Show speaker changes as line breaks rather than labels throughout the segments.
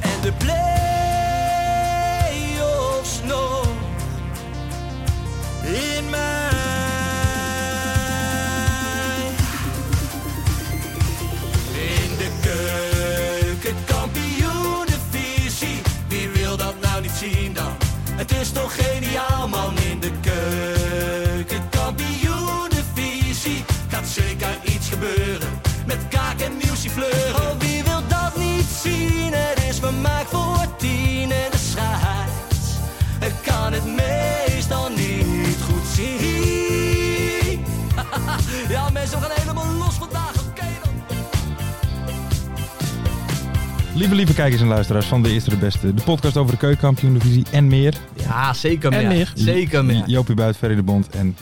En de play-offs nog
In mij.
in de keuken, kampioenenvisie. Wie wil dat nou niet zien dan? Het is toch geniaal man in de keuken, kampioenenvisie. Gaat zeker iets gebeuren met kaak en muziek fleuren. Oh, wie wil dat niet zien? Het is vermaakt voor tien en de scheids. Ik kan het meestal niet goed zien. Ja, mensen, we gaan helemaal los vandaag. Oké dan.
Lieve, lieve kijkers en luisteraars van De Eerste de Beste. De podcast over de keukenkampioen-divisie en meer.
Ja, zeker
En
meer.
meer.
Zeker meer.
Joopie Buit, Ferry de Bond en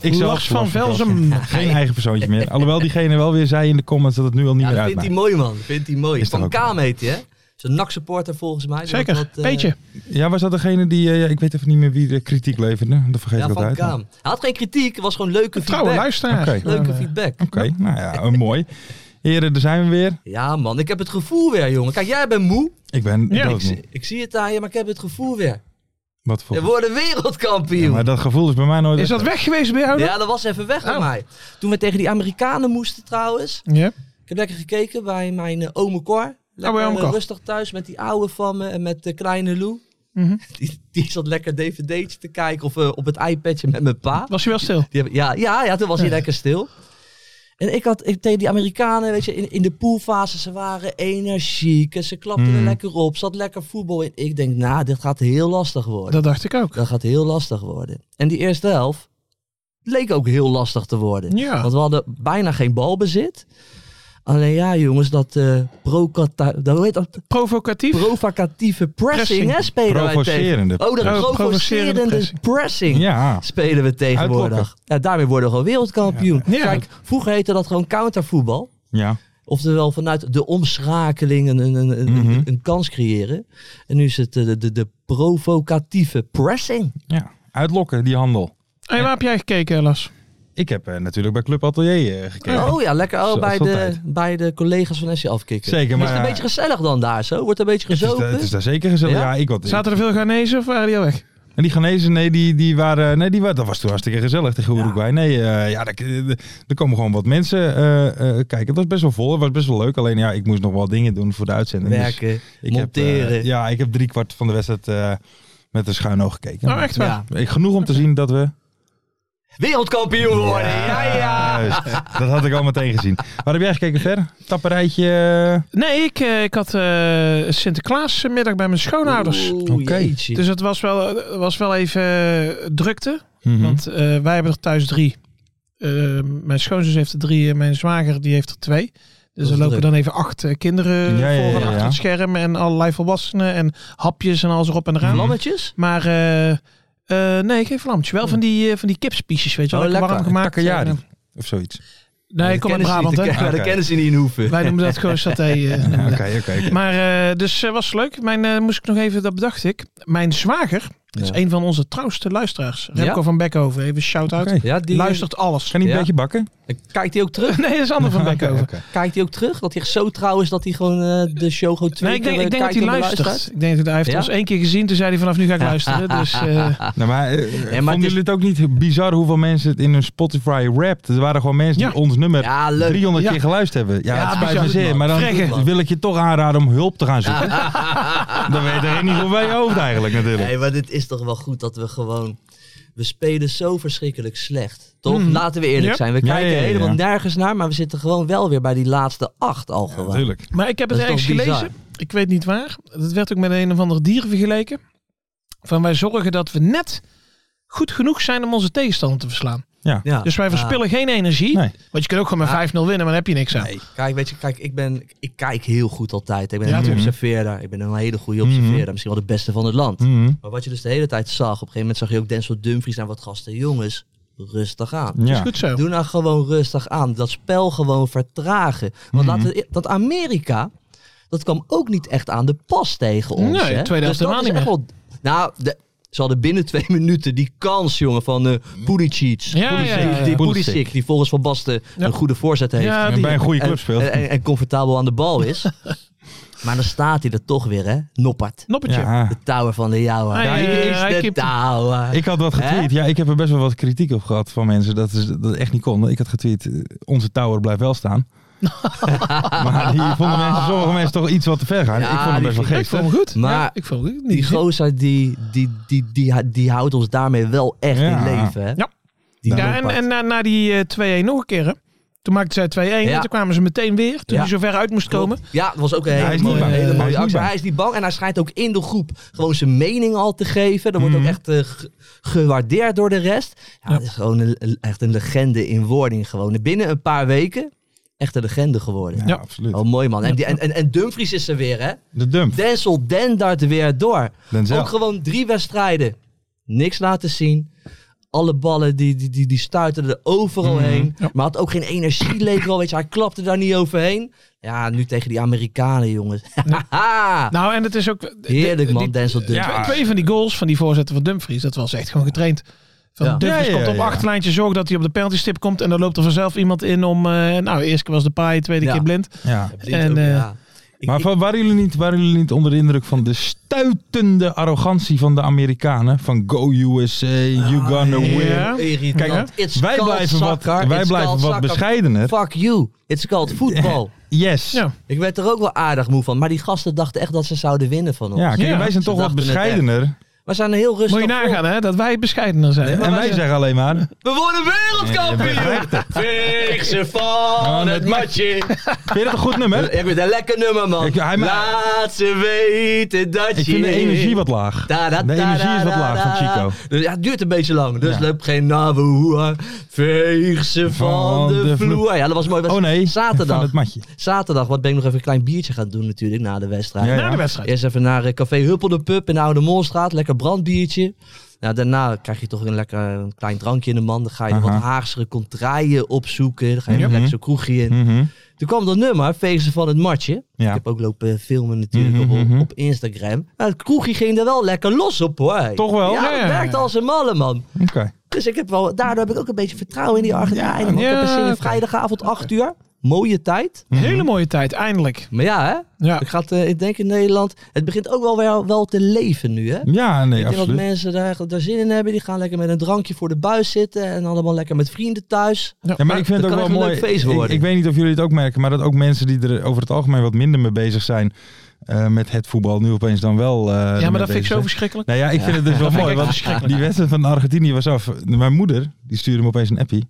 ik
Lars van Velzen.
Geen eigen persoontje meer. Alhoewel diegene wel weer zei in de comments dat het nu al niet
Ja,
meer
dat vindt hij
uitmaakt.
mooi, man. Dat vindt hij mooi.
Is
Van
toch ook-
Kaam heet hij, hè? Zo'n NAC-supporter volgens mij.
Zeker,
Dat, eh,
Peetje.
Ja, was dat degene die, eh, ja, ik weet even niet meer wie de kritiek leverde. Dan vergeet
Ja,
ik dat
Van
uit.
Kaam. Hij had geen kritiek, het was gewoon leuke
Trouwe
feedback.
luisteraar.
Oké.
Leuke
Eh,
feedback.
Oké, nou ja, eh, mooi. Heren, daar zijn we weer.
Ja, man. Ik heb het gevoel weer, jongen. Kijk, jij bent moe.
Ik ben
Ja,
dood
Ik, zie- ik zie het aan je, maar ik heb het gevoel weer.
Wat voor...
We worden wereldkampioen.
Ja,
Ja,
maar dat gevoel is bij mij nooit...
Is dat weg geweest bij jou? dan?
dat was even weg bij
Oh.
mij. Toen we tegen die Amerikanen moesten trouwens.
Ja.
Ik heb lekker gekeken bij mijn eh, ome Cor. Lekker
Oh, bij ome
eh,
Cor.
rustig thuis met die oude van me en met de kleine Lou.
Mhm.
Die, die zat lekker dvd'tje te kijken of eh, op het iPadje met mijn pa.
Was hij wel stil?
Die hebben- ja, ja, ja, toen was hij lekker stil. En ik had ik, tegen die Amerikanen, weet je, in, in de poolfase, ze waren energiek en ze klapten er
Mhm.
Mm.
lekker op. Zat lekker voetbal in. Ik denk, nou, dit gaat heel lastig worden.
Dat dacht ik ook.
Dat gaat heel lastig worden. En die eerste helft leek ook heel lastig te worden.
Ja.
Want we hadden bijna geen balbezit. Alleen ja, jongens, dat, eh procata- dat, hoe heet dat
Provocatief.
provocatieve pressing,
Pressing.
Hè, spelen wij tegen.
Provocerende.
Oh,
Pro-
dat provocerende
provocerende
pressing.
pressing.
Ja.
Spelen we tegenwoordig.
Uitlokken.
Ja, daarmee worden we gewoon wereldkampioen.
Ja. Ja.
Kijk, vroeger heette dat gewoon countervoetbal.
Ja.
Oftewel vanuit de omschakeling een, een, een, een-
Mhm.
een kans creëren. En nu is het eh, de, de, de provocatieve pressing.
Ja. Uitlokken, die handel.
Hey, waar heb jij gekeken, Lars?
Ik heb eh, natuurlijk bij Club Atelier eh, gekeken.
Oh ja, lekker al
Zo-
bij
zo'n
de,
tijd.
bij de collega's van SC afkicken.
Zeker,
Is
maar...
het een beetje gezellig dan daar zo? Wordt een beetje
Het is,
gezopen?
da- het is daar zeker gezellig.
Ja?
Ja, ik wat.
Zaten er veel Ghanese of waren die al weg?
En die Ghanese, nee, die, die waren, nee die waren, dat was toen hartstikke gezellig tegen Uruguay. Nee, eh, ja, daar- eh, er komen gewoon wat mensen eh, eh, kijken. Het was best wel vol, het was best wel leuk. Alleen ja, ik moest nog wel dingen doen voor de uitzending. dus
Werken,
ik
monteren.
Heb, eh, ja, ik heb drie kwart van de wedstrijd eh, met een schuin oog gekeken.
Oh,
Nou, echt waar.
Ja.
Ik- Genoeg om te zien dat we...
Wereldkampioen worden! Ja, ja!
Juist, dat had ik al meteen gezien. Waar heb jij gekeken ver? Tapperijtje? eh,
Nee, ik, eh, ik had eh Sinterklaasmiddag bij mijn schoonouders.
Oeh,
Oké.
jeetje.
Dus het was wel, eh, was wel even eh, drukte.
mhm.
Mm-hmm.
Want eh, wij hebben er thuis drie. Eh, mijn schoonzus heeft er drie en mijn zwager die heeft er twee. Dus
is
er lopen
druk.
dan even acht eh, kinderen
Ja, ja,
voor en
ja,
achter
ja.
het scherm. En allerlei volwassenen en hapjes en alles erop en eraan.
Hm? Lammetjes?
Maar eh, eh, nee, geen vlammetje. Wel van die, eh, van die kipspiesjes, weet je wel.
Oh,
lekker warm
lekker.
gemaakt.
Takoyaki.
Eh,
Of zoiets.
Nee, ik kom uit Brabant, hè.
Maar dat
Oké.
kennen ze niet in hoeven.
Wij noemen dat gewoon saté. eh,
Ja, Oké,
noemen we
oké.
dat.
oké.
Maar eh, dus eh, was leuk. Mijn eh, moest ik nog even, dat bedacht ik. Mijn zwager, Dat
Ja.
is een van onze trouwste luisteraars. Remco
Ja?
van Bekhoven, even shout-out.
Oké.
Ja, die
Luistert alles.
Kan hij een
Ja.
beetje bakken?
Kijkt hij ook terug?
Nee, dat is Anne van
Oké,
Bekhoven.
oké.
Kijkt hij ook terug? Dat hij echt zo trouw is dat hij gewoon eh, de show gewoon twee
Nee, ik denk,
keer,
ik
eh,
denk dat
kijkt
hij
en
luistert. Ik denk dat hij heeft
Ja?
ons één keer gezien. Toen zei hij vanaf nu ga ik luisteren. Dus eh,
Nou, maar, eh, vonden
het is-
jullie het ook niet bizar hoeveel mensen het in hun Spotify rapt? Er waren gewoon mensen
Ja.
die ons nummer
Ja, leuk.
300
Ja.
keer geluisterd hebben. Ja,
Ja,
het spijt
bizar.
me zeer, maar dan
Frekken.
wil ik je toch aanraden om hulp te gaan zoeken. dan weet je niet hoe wij je hoofd eigenlijk natuurlijk.
Nee, maar dit is toch wel goed dat we gewoon... We spelen zo verschrikkelijk slecht. Toch? Laten we eerlijk
Ja.
zijn. We
Hmm. Ja,
kijken
ja, ja,
helemaal
ja.
nergens naar, maar we zitten gewoon wel weer bij die laatste acht al gewoon.
Natuurlijk.
maar ik heb
Dat
het
is
ergens
toch bizar?
gelezen. Ik weet niet waar. Dat werd ook met een of ander dier vergeleken. Van wij zorgen dat we net goed genoeg zijn om onze tegenstander te verslaan.
ja.
Dus wij
Ja.
verspillen geen energie.
Nee.
Want je kunt ook gewoon
Ja.
met 5-0 winnen, maar dan heb je niks aan.
Nee, kijk, weet je, kijk, ik ben, ik kijk heel goed altijd. Ik ben
Ja,
een goede
tuurlijk.
observeerder. Ik ben een hele goede observeerder. Misschien wel de beste van het land.
Mhm.
Maar wat je dus de hele tijd zag, op een gegeven moment zag je ook Denzel Dumfries en wat gasten. Jongens, rustig aan.
Dat is
Ja.
goed zo.
Doe nou gewoon rustig aan. Dat spel gewoon vertragen. Want
Mhm.
laten we- dat Amerika, dat kwam ook niet echt aan de pas tegen ons.
Nee,
hè? Dus
tweede helft
dat
helemaal
is
niet
echt wel- nou, de- ze hadden binnen twee minuten die kans, jongen, van eh Pulisic.
Ja,
Pulisic,
ja, ja, ja.
Die
Pulisic.
Pulisic, die volgens Van Basten
Ja.
een goede voorzet heeft.
Ja,
En
die-
bij een goede club
En-
speelt.
En, en, en comfortabel aan de bal is. maar dan staat hij er toch weer, hè? Noppert.
Noppertje.
Ja.
De tower van de jouwe.
Hij,
Hij
eh, hij
is de
kipt hem.
tower.
Ik had wat getweet. Ja, ik heb er best wel wat kritiek op gehad van mensen dat ze dat echt niet konden. Ik had getweet, eh, onze tower blijft wel staan. maar die vonden mensen, sommige mensen toch iets wat te ver gaan.
Ja,
ik vond
die
het best wel
Ja, ik
geestig.
vond hem goed.
Maar-
Ja, ik vond hem goed.
Die
Niet
gozer, die, die, die, die, die houdt ons daarmee wel echt
Ja.
in leven, hè?
Ja.
Die
Ja, en,
Noppert.
en na, na die eh, 2-1 nog een keer. hè. Toen maakten zij 2-1
Ja.
en toen kwamen ze meteen weer. Toen
Ja.
hij zo ver uit moest komen.
Ja, dat was ook een
hij
hele
is niet
mooie,
bang.
hele
Hij
mooie
is niet
actie.
bang.
Maar Hij is niet bang en hij schijnt ook in de groep gewoon zijn mening al te geven. Dat
Mm.
wordt ook echt eh, ge- gewaardeerd door de rest. Ja,
Ja.
Het is gewoon een- een- echt een legende in wording. Gewoon binnen een paar weken echt een legende geworden.
Ja,
Ja.
absoluut.
Oh, mooi man. En, die, en, en, en Dumfries is er weer, hè?
De dump.
Denzel Dendart weer door.
Denzel.
Ook gewoon drie wedstrijden. Niks laten zien. Alle ballen die, die, die, die stuiten er overal heen. Maar had ook geen energie, leek wel. Weet je, hij klapte daar niet overheen. Ja, nu tegen die Amerikanen, jongens.
Nou, en het is ook...
Heerlijk, man,
die-
Denzel Dumfries.
Twee- Twee van die goals van die voorzetten van Dumfries, dat was echt gewoon getraind. Van
Ja.
Dumfries
Ja, ja,
komt op
ja.
achterlijntje, zorg dat hij op de penaltystip komt. En dan loopt er vanzelf iemand in om... eh, nou, de eerste keer was de paai, tweede
Ja.
keer blind.
Ja.
Dit
En,
ook,
eh,
ja. Ik-
Maar
ik-
van- waren, jullie niet, waren jullie niet onder de indruk van de stuitende arrogantie van de Amerikanen? Van go USA, you gonna
ja.
win.
Ja.
irritant.
Kijk, hè?
Nou, It's
Wij
called
blijven wat,
soccer.
wij
It's
blijven
called
wat
soccer.
bescheidener.
Fuck you. It's called voetbal.
Yes.
Ja.
Ja,
Ik werd er ook wel aardig moe van. Maar die gasten dachten echt dat ze zouden winnen van ons.
kijk,
Ja.
wij zijn
Ze
toch wat
dachten eh, het echt.
bescheidener.
We zijn er heel rustig
Moet je
op.
nagaan, hè, dat wij bescheidener zijn.
En wij zeggen alleen maar...
We worden wereldkampioen! Veeg ze van
Ja,
het
dat-
matje.
Vind je dat een goed nummer?
Ik vind een lekker nummer, man.
Ik- hij ma-
Laat ze weten dat je...
Ik vind de energie wat laag.
Da, da,
De
da,
energie
da,
is wat
da,
laag van
da.
Chico.
Dus ja, het duurt een beetje lang. Dus
Ja.
loop geen nawe Veeg ze van,
Van
de,
de vloer.
vloer. Ja, dat was mooi. Dat
Oh
was
nee,
Zaterdag.
van het matje.
Zaterdag, wat ben ik nog even een klein biertje gaan doen natuurlijk na de wedstrijd.
Ja,
Na de wedstrijd.
Eerst even naar eh, Café Huppel de Pub in de Oude Molstraat. Lekker brandbiertje. Nou, daarna krijg je toch een lekker eh, een klein drankje in de man. Dan ga je nog
Aha.
wat Haagse contraien opzoeken. Dan ga je nog
Mhm.
lekker zo'n kroegje in.
Mhm.
Toen kwam dat nummer, Feesten van het Matje.
Ja.
Ik heb ook lopen filmen natuurlijk op-
Mhm,
op,
mhm.
op Instagram. Nou, het kroegje ging er wel lekker los op hoor. Hey.
Toch wel?
Ja,
Ja,
het
ja, ja.
werkt als een malle man.
Oké.
Dus ik heb wel, daardoor heb ik ook een beetje vertrouwen in die Argentijnen. want
ja,
ik heb er zin in.
oké.
vrijdagavond 8 uur. Mooie tijd.
Mhm.
Hele mooie tijd, eindelijk.
Maar ja, hè?
Ja.
Ik, ga het, eh, ik denk in Nederland. Het begint ook wel, wel, wel te leven nu, hè?
Ja, nee,
ik denk dat
absoluut.
mensen daar, daar zin in hebben. Die gaan lekker met een drankje voor de buis zitten. En allemaal lekker met vrienden thuis.
Ja, maar ik vind
dat
het ook
kan echt
wel
een
mooi.
leuk feest
ik,
worden.
ik weet niet of jullie het ook merken, maar dat ook mensen die er over het algemeen wat minder mee bezig zijn eh, met het voetbal, nu opeens dan wel. eh,
Ja,
ermee
maar dat vind
bezig
ik zo
zijn.
verschrikkelijk.
Nou ja, ik vind het dus wel
vind
mooi.
ik echt
Want die wedstrijd van Argentinië was af. Mijn moeder, die stuurde me opeens een appie.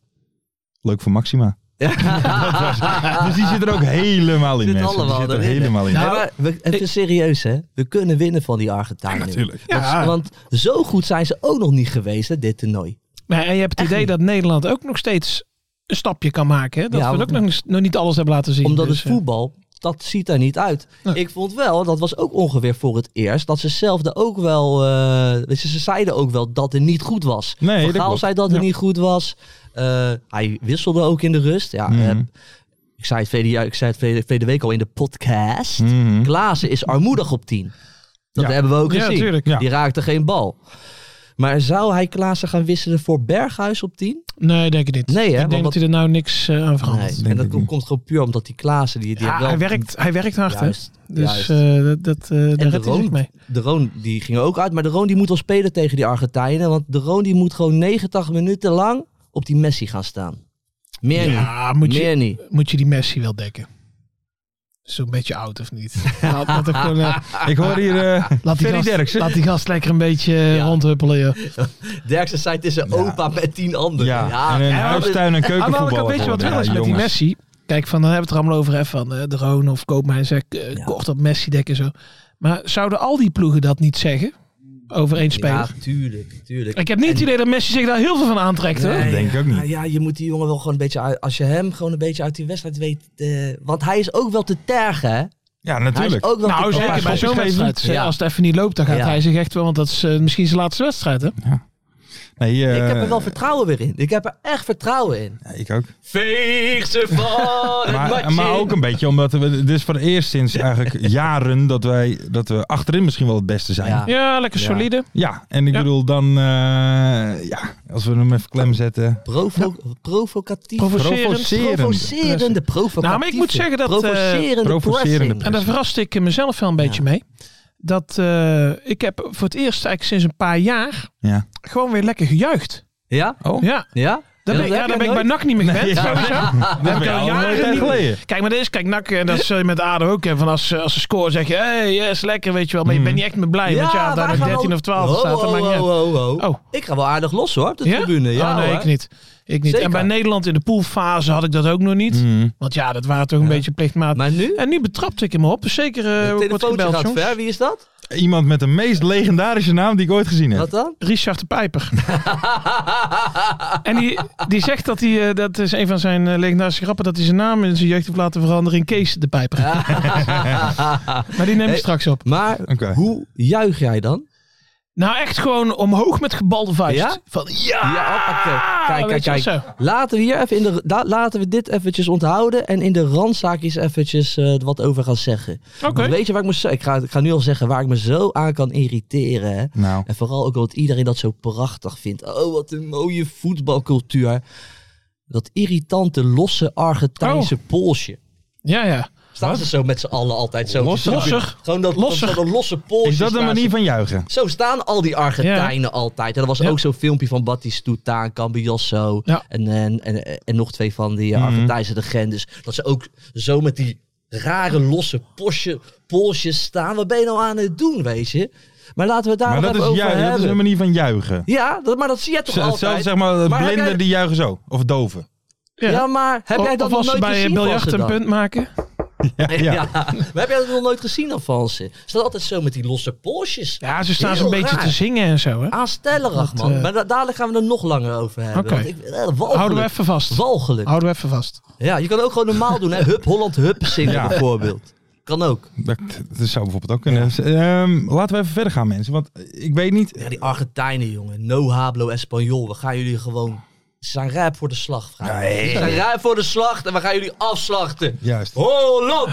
Leuk voor Maxima. Dat was- dus die zit er ook helemaal in,
Zit
mensen.
allemaal
die zit er
erin, hè?
helemaal in.
Nee, maar Nou, we, het is serieus, hè? We kunnen winnen van die Argentijnen.
natuurlijk.
Dat is- Want zo goed zijn ze ook nog niet geweest, hè, dit toernooi.
Maar en je hebt het idee dat Nederland ook nog steeds een stapje kan maken. Hè? Dat
Ja,
we
want-
ook nog, niet- nog niet alles hebben laten zien.
Omdat
Dus,
het
eh,
voetbal, dat ziet er niet uit.
Nee.
Ik vond wel, dat was ook ongeveer voor het eerst, dat ze zelf er ook wel... eh, weet je, ze zeiden ook wel dat het niet goed was.
Nee,
Van
dat
Gaal
klopt.
zei dat het niet goed was. Eh, hij wisselde ook in de rust. Ja, eh,
Mhm.
ik zei het, vele, jaar- ik zei het vele, vele week al in de podcast.
Mhm.
Klaassen is armoedig op 10. Dat
Ja.
hebben we ook
Ja,
gezien.
tuurlijk.
Ja.
Die raakte geen bal. Maar zou hij Klaassen gaan wisselen voor Berghuis op 10?
Nee, denk ik niet.
Nee, hè,
Ik
want
denk
wat-
dat hij er nou niks eh, aan verandert.
Nee.
denk
En dat
ik
komt-
niet.
komt gewoon puur omdat die Klaassen... Die, die
Ja,
heeft wel-
hij, werkt, hij werkt hard, hè.
Juist,
Dus
juist.
eh, dat, dat, eh, daar
de
redt hij
Roon.
zich mee.
De Roon die ging ook uit, maar de Roon die moet wel spelen tegen die Argentijnen. Want de Roon die moet gewoon 90 minuten lang op die Messi gaan staan. Meer niet.
Ja, moet je,
Meer niet.
moet je die Messi wel dekken? Zo'n beetje oud of niet? laat, laat, hem gewoon, eh,
Ik hoor hier eh
laat, die
Ferry
gast,
Derksen.
laat die gast lekker een beetje eh,
Ja.
rondhuppelen. Joh.
Derksen zei het is een opa met tien anderen.
Ja,
Ja,
en
eh,
een
ja,
huis,
dat-
tuin en
Ah, maar
keukenvoetbal.
wat ik een beetje wat wil is met die
jongens.
Messi. Kijk, van, dan hebben we het er allemaal over. Hè, van eh, de Roon of Koopmijn zegt eh,
Ja.
kort op Messi dekken zo. Maar zouden al die ploegen dat niet zeggen? Over één speler.
Ja, tuurlijk, tuurlijk.
Ik heb niet het
En-
idee dat Messi zich daar heel veel van aantrekt. hoor.
Dat denk ik ook niet.
ja, ja, je moet die jongen wel gewoon een beetje uit, als je hem gewoon een beetje uit die wedstrijd weet. eh, want hij is ook wel te tergen, hè?
Ja,
Hij is
natuurlijk.
ook wel te
Nou, zeker bij
schoppen
zo'n
geven.
wedstrijd. eh,
Ja.
Als het even niet loopt, dan gaat
Ja.
hij zich echt wel... Want dat is eh, misschien zijn laatste wedstrijd, hè?
Nee, eh,
Ik heb er wel vertrouwen weer in. Ik heb er echt vertrouwen in.
ja, ik ook.
Veeg ze van het
Maar,
matje
maar
in.
ook een beetje omdat we. Dit is voor het eerst sinds eigenlijk jaren dat wij dat we achterin misschien wel het beste zijn.
Ja.
Ja,
Ja, lekker
Ja.
solide.
en ik
Ja.
bedoel dan. eh, ja, als we hem even klem zetten.
Provo provocatief.
Provocerend.
Provocerend.
Provocerende, provocatieve.
Nou, maar ik moet zeggen dat, eh,
Provocerende,
Provocerende
pressing.
pressing.
En daar verraste ik mezelf wel een beetje mee. Dat eh, ik heb voor het eerst eigenlijk sinds een paar jaar
Ja.
gewoon weer lekker gejuicht.
Ja?
Oh,
Ja,
Ja?
dat, ben, ik- ja, dat ben ik bij NAC niet meer gewend. sowieso.
dat heb
ik al jaren
een tijd
niet-
geleden.
Kijk, maar dit is, kijk, NAC, eh, dat zul je met ADO ook hebben. Van als, ze- als ze scoren zeg je, hey, yes, lekker, weet je wel. Maar je bent niet echt meer blij, want ja, of daar
Hmm. wij
nog
gaan Oh,
13
wel-
of 12
Ho,
staat, dat
ho,
maakt niet uit.
ho, ho, ho.
Oh.
Ik ga wel aardig los hoor, op de tribune. Ja,
Oh, nee,
hoor.
ik niet. Ik niet.
Zeker. Hmm.
En bij Nederland in de poolfase had ik dat ook nog niet.
Mhm.
Want ja, dat waren toch een beetje plichtmaat.
Maar nu?
En nu betrapte ik hem op. Zeker eh
Het
wordt
telefoontje
gebeld,
gaat
jongens.
ver. Wie is dat?
Iemand met de meest legendarische naam die ik ooit gezien heb.
Wat dan?
Richard de Pijper. en die, die zegt dat hij, eh, dat is een van zijn eh, legendarische grappen, dat hij zijn naam in zijn jeugd heeft laten veranderen in Kees de Pijper. maar die neem ik
Hey.
straks op.
Maar
Oké.
hoe juich jij dan?
Nou, echt gewoon omhoog met gebalde vuist.
Ja?
Van ja!
Ja, oh, oké. Kijk,
Ah, Weet
kijk,
je
kijk.
wel zo.
Laten we, hier even in de, la- laten we dit eventjes onthouden en in de randzaakjes eventjes eh, wat over gaan zeggen.
Oké.
Want Weet je waar ik me zo- ik ga, ik ga nu al zeggen waar ik me zo aan kan irriteren. Hè?
Nou,
En vooral ook omdat iedereen dat zo prachtig vindt. Oh, wat een mooie voetbalcultuur. Dat irritante losse
Oh.
Argentijnse polsje.
Ja, ja.
Staan ze zo met z'n allen altijd zo.
Losser?
Losser?
Gewoon dat,
Losser?
dat, dat losse polsje.
is dat een
staan ze
manier van juichen?
zo staan al die Argentijnen altijd. En er was
Ja.
ook zo'n filmpje van Batistuta en Cambiasso.
Ja. Mhm.
En, en, en, en nog twee van die eh, Argentijnse legendes. Dat ze ook zo met die rare losse posje, polsjes staan. Wat ben je nou aan het doen, weet je? Maar laten we het daar
Maar
nog
dat is,
even over
juichen, dat
hebben.
is een manier van juichen.
Ja, dat, maar dat zie je toch
Z- Hetzelfde
altijd?
zeg maar,
Maar heb
blinden
jij-
die juichen zo. Of doven.
ja.
Ja, maar heb jij
Of-
dat
of als
nog nooit
ze bij
gezien
eh,
van
biljart
ze
een
dan?
punt maken.
Ja. Maar heb jij dat nog nooit gezien dan van ze? Ze staan altijd zo met die losse polsjes.
Ja, ze staan zo'n
Heel
beetje
raar. Ah,
te zingen en zo. Hè?
Aanstellerig,
Dat,
man.
eh,
Maar da- dadelijk gaan we er nog langer over hebben.
Oké.
want ik- eh, walgelijk.
Houden we even vast.
Walgelijk.
Houden we even vast.
Ja, je kan ook gewoon normaal doen, hè? Hup Holland, hup zingen
Ja.
bijvoorbeeld. Kan ook.
Dat, dat zou bijvoorbeeld ook kunnen. Dus, ehm, laten we even verder gaan, mensen. Want ik weet niet.
Ja, die Argentijnen, jongen. No hablo español. We gaan jullie gewoon... Ze zijn rijp voor de slag. Nee. Ze zijn rijp voor de slag en we gaan jullie afslachten.
Juist.
Holland!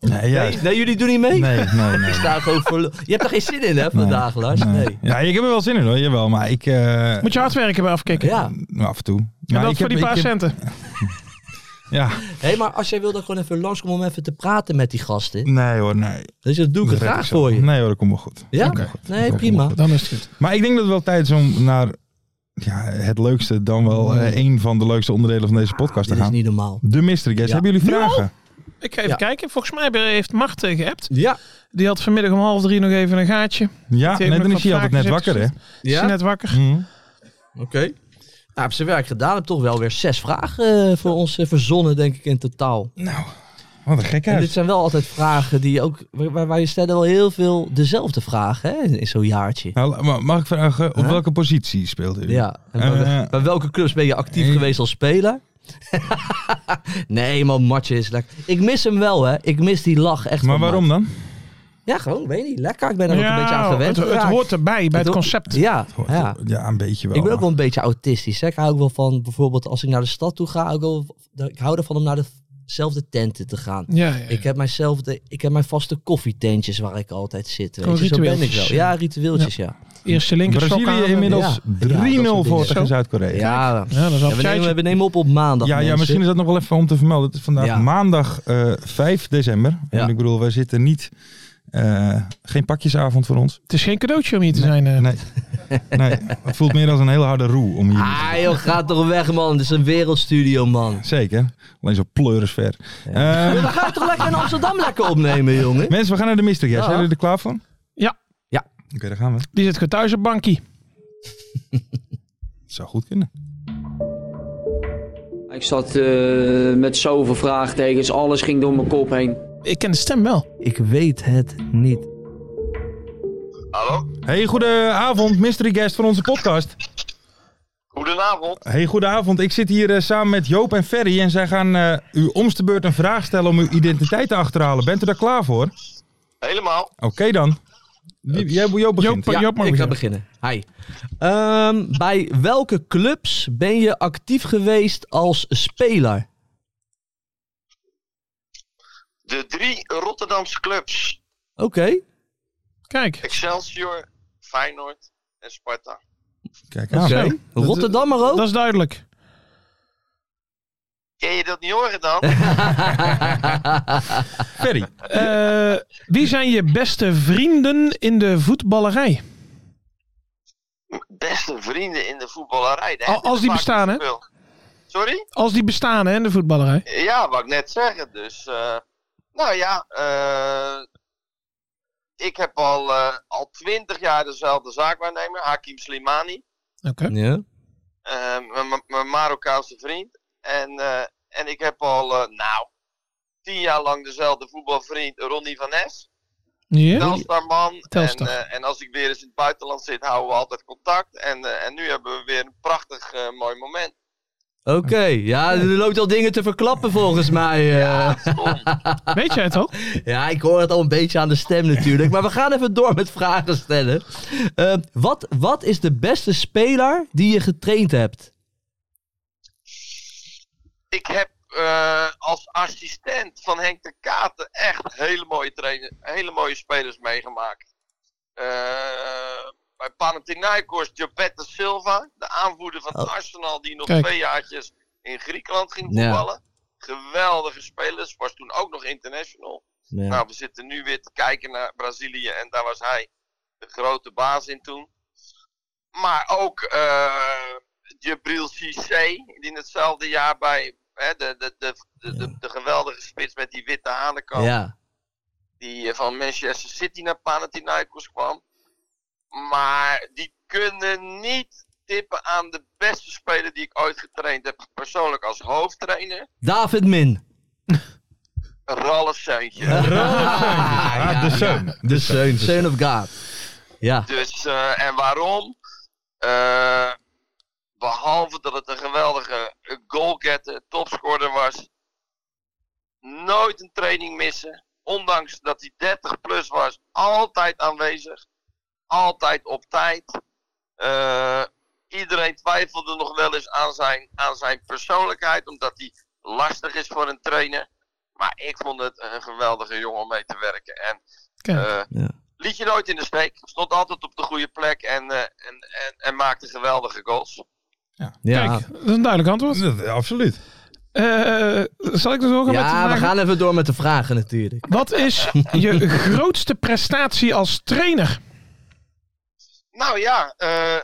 Nee,
Nee,
juist.
nee, jullie doen niet mee?
Nee, nee, nee.
Ik sta gewoon voor... Je hebt er geen zin in, hè, vandaag, Lars? Nee.
Ja, ik heb er wel zin in hoor, jawel. Maar ik... eh,
Moet je hard werken bij afkicken.
Ja.
nou, af en toe.
En
Maar
dat
ik
voor
heb-
die paar
ik heb-
centen.
Ja.
Hé, maar als jij wil dan gewoon even langskomen om even te praten met die gasten.
Nee hoor, nee.
Dus dat doe ik
Dat
het
red
graag
ik zo.
voor je.
Nee hoor, dat komt wel goed.
Ja?
Dat komt wel goed. Dat
Nee,
komt wel
prima.
goed.
Dan is het goed.
Maar ik denk dat het wel tijd is om naar ja, het leukste, dan wel eh, één van de leukste onderdelen van deze podcast te
Mm. Dit is
gaan.
niet normaal.
De mystery guest.
Ja.
Hebben jullie
Nu al?
vragen?
Ik ga even
Ja.
kijken. Volgens mij be- heeft Mart eh, geappt.
Ja.
Die had vanmiddag om half drie nog even een gaatje.
Ja,
heeft
nee,
nog
dan
wat
is hij altijd net
vragen
wakker hè.
gezet. Is hij net wakker?
Mm.
Mhm.
Oké. Nou, heb zijn werk gedaan. Heb toch wel weer zes vragen eh, voor ons eh, verzonnen, denk ik, in totaal.
Nou, wat een gek
En dit
huis.
zijn wel altijd vragen die ook... Waar, waar je stellen wel heel veel dezelfde vragen, hè, in, in zo'n jaartje.
Nou, ma- mag ik vragen, op
Huh?
welke positie speelt u?
Ja. En
Eh,
bij, bij welke clubs ben je actief
eh.
geweest als speler? nee, man, Matje is lekker. Ik mis hem wel, hè. Ik mis die lach echt
Maar
van
waarom
Mart.
dan?
Ja, gewoon, weet niet. Lekker. Ik ben er ook
Ja,
een beetje aan gewend.
het, het
geraakt.
hoort erbij, bij het
ho-
concept.
Ja, ja.
Ja, een beetje wel.
Ik ben ook
maar-
wel een beetje autistisch. Hè? Ik hou ook wel van, bijvoorbeeld als ik naar de stad toe ga, ook wel, ik hou ervan om naar de zelfde tenten te gaan.
Ja, ja,
Ik heb, mijzelf de, ik heb mijn vaste koffietentjes waar ik altijd zit. Weet
Gewoon
je, zo ben ik
ritueeltjes.
wel. Ja, ritueeltjes, ja.
Eerste linker sok
Brazilië
aan.
inmiddels
Ja, dat
3-0
soort
voor
dingen.
tegen
Zo.
Zuid-Korea.
Ja,
Ja, dat is
Ja, we, nemen,
afscheidje.
we nemen op op maandag.
Ja, ja,
mensen.
misschien is dat nog wel even om te vermelden. Het is vandaag
Ja.
maandag eh, 5 december.
Ja.
En ik bedoel, wij zitten niet... eh, geen pakjesavond voor ons.
Het is geen cadeautje om hier te zijn. eh.
Nee. nee. Het voelt meer als een hele harde roe om hier
Ah joh, ga toch weg man. Dit is een wereldstudio man.
Zeker. Alleen zo pleurisver. ver. Eh,
We gaan toch lekker in Amsterdam lekker opnemen, jongen.
mensen, we gaan naar de mystery. guest.
Ja.
Zijn jullie er klaar voor? Oké,
Ja,
daar gaan we.
die zit gewoon thuis op bankie.
Het zou goed kunnen.
Ik zat eh, met zoveel vraagtekens, alles ging door mijn kop heen.
Ik ken de stem wel.
Ik weet het niet.
Hallo?
Hey, goedenavond, mystery guest van onze podcast.
Goedenavond.
Hey, goedenavond. Ik zit hier eh, samen met Joop en Ferry en zij gaan eh, u omste beurt een vraag stellen om uw identiteit te achterhalen. Bent u daar klaar voor? Oké
Helemaal.
dan. Wie- Jij, Joop begint.
Joop, Joop mag
ik ga
beginnen.
beginnen. Hi. Ehm, bij welke clubs ben je actief geweest als speler?
De drie Rotterdamse clubs.
Oké.
Kijk,
Excelsior, Feyenoord en Sparta.
Kijk
Oké.
aan.
Rotterdammer ook?
dat is duidelijk.
Ken je dat niet horen dan?
Ferry.
Eh, wie zijn je beste vrienden in de voetballerij?
Beste vrienden in de voetballerij. daar
Al-
heb je
als
er
die
vaak
bestaan,
niet
hè?
veel. Sorry?
Als die bestaan hè, in de voetballerij.
Ja, wou ik net zeggen. Dus, eh, nou ja, eh, ik heb al, eh, al twintig jaar dezelfde zaakwaarnemer, Hakim Slimani.
Oké.
Ja.
Eh, mijn- mijn- mijn Marokkaanse vriend. En, eh, en ik heb al, eh, nou, tien jaar lang dezelfde voetbalvriend Ronnie van Nes.
Ja.
Nou, Telstarman.
Telstar.
En, eh, en als ik weer eens in het buitenland zit, houden we altijd contact. En, eh, en nu hebben we weer een prachtig eh, mooi moment.
Oké. Ja, er loopt al dingen te verklappen volgens mij. eh.
Weet jij het al?
Ja, ik hoor het al een beetje aan de stem natuurlijk. Maar we gaan even door met vragen stellen. Eh, wat, wat is de beste speler die je getraind hebt?
Ik heb eh, als assistent van Henk de Katen echt hele mooie, trainen, hele mooie spelers meegemaakt. Eh, bij Panathinaikos, Giuseppe Silva, de aanvoerder van
Oh.
Arsenal, die nog
Kijk.
twee jaartjes in Griekenland ging
Ja.
voetballen. Geweldige spelers, was toen ook nog international. Nou, we zitten nu weer te kijken naar Brazilië en daar was hij de grote baas in toen. Maar ook eh Jabril Cissé, die in hetzelfde jaar bij hè, de, de, de, de, de, de geweldige spits met die witte hanenkam,
Ja.
die eh, van Manchester City naar Panathinaikos kwam. Maar die kunnen niet tippen aan de beste speler die ik ooit getraind heb, persoonlijk als hoofdtrainer,
David Min.
Ralf Seuntje.
Ah, de zoon.
De Seun. Seun of God. Ja.
Dus, eh, en waarom? Eh, behalve dat het een geweldige goalgetter, topscorer was. Nooit een training missen. Ondanks dat hij 30 plus was. Altijd aanwezig. Altijd op tijd. Eh, iedereen twijfelde nog wel eens aan zijn, aan zijn persoonlijkheid. Omdat hij lastig is voor een trainer. Maar ik vond het een geweldige jongen om mee te werken. En
Kijk.
eh,
Ja.
Liet je nooit in de steek. Stond altijd op de goede plek en, eh, en, en, en maakte geweldige goals.
Ja,
Kijk, dat is een duidelijk antwoord.
Dat- Absoluut.
Eh, zal ik er zo gaan met de
ja we
vragen?
gaan even door met de vragen natuurlijk.
Wat is je grootste prestatie als trainer?
Nou ja, eh,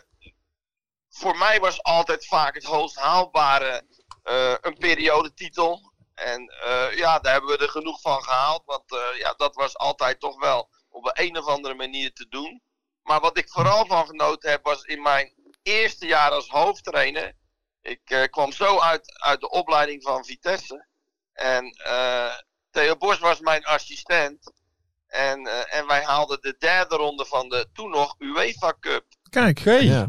voor mij was altijd vaak het hoogst haalbare eh, een periodetitel. En eh, ja, daar hebben we er genoeg van gehaald. Want eh, ja, dat was altijd toch wel op een, een of andere manier te doen. Maar wat ik vooral van genoten heb, was in mijn eerste jaar als hoofdtrainer. Ik eh, kwam zo uit, uit de opleiding van Vitesse. En eh, Theo Bos was mijn assistent. En, eh, en wij haalden de derde ronde van de toen nog UEFA Cup.
Kijk,
Oké.
Ja.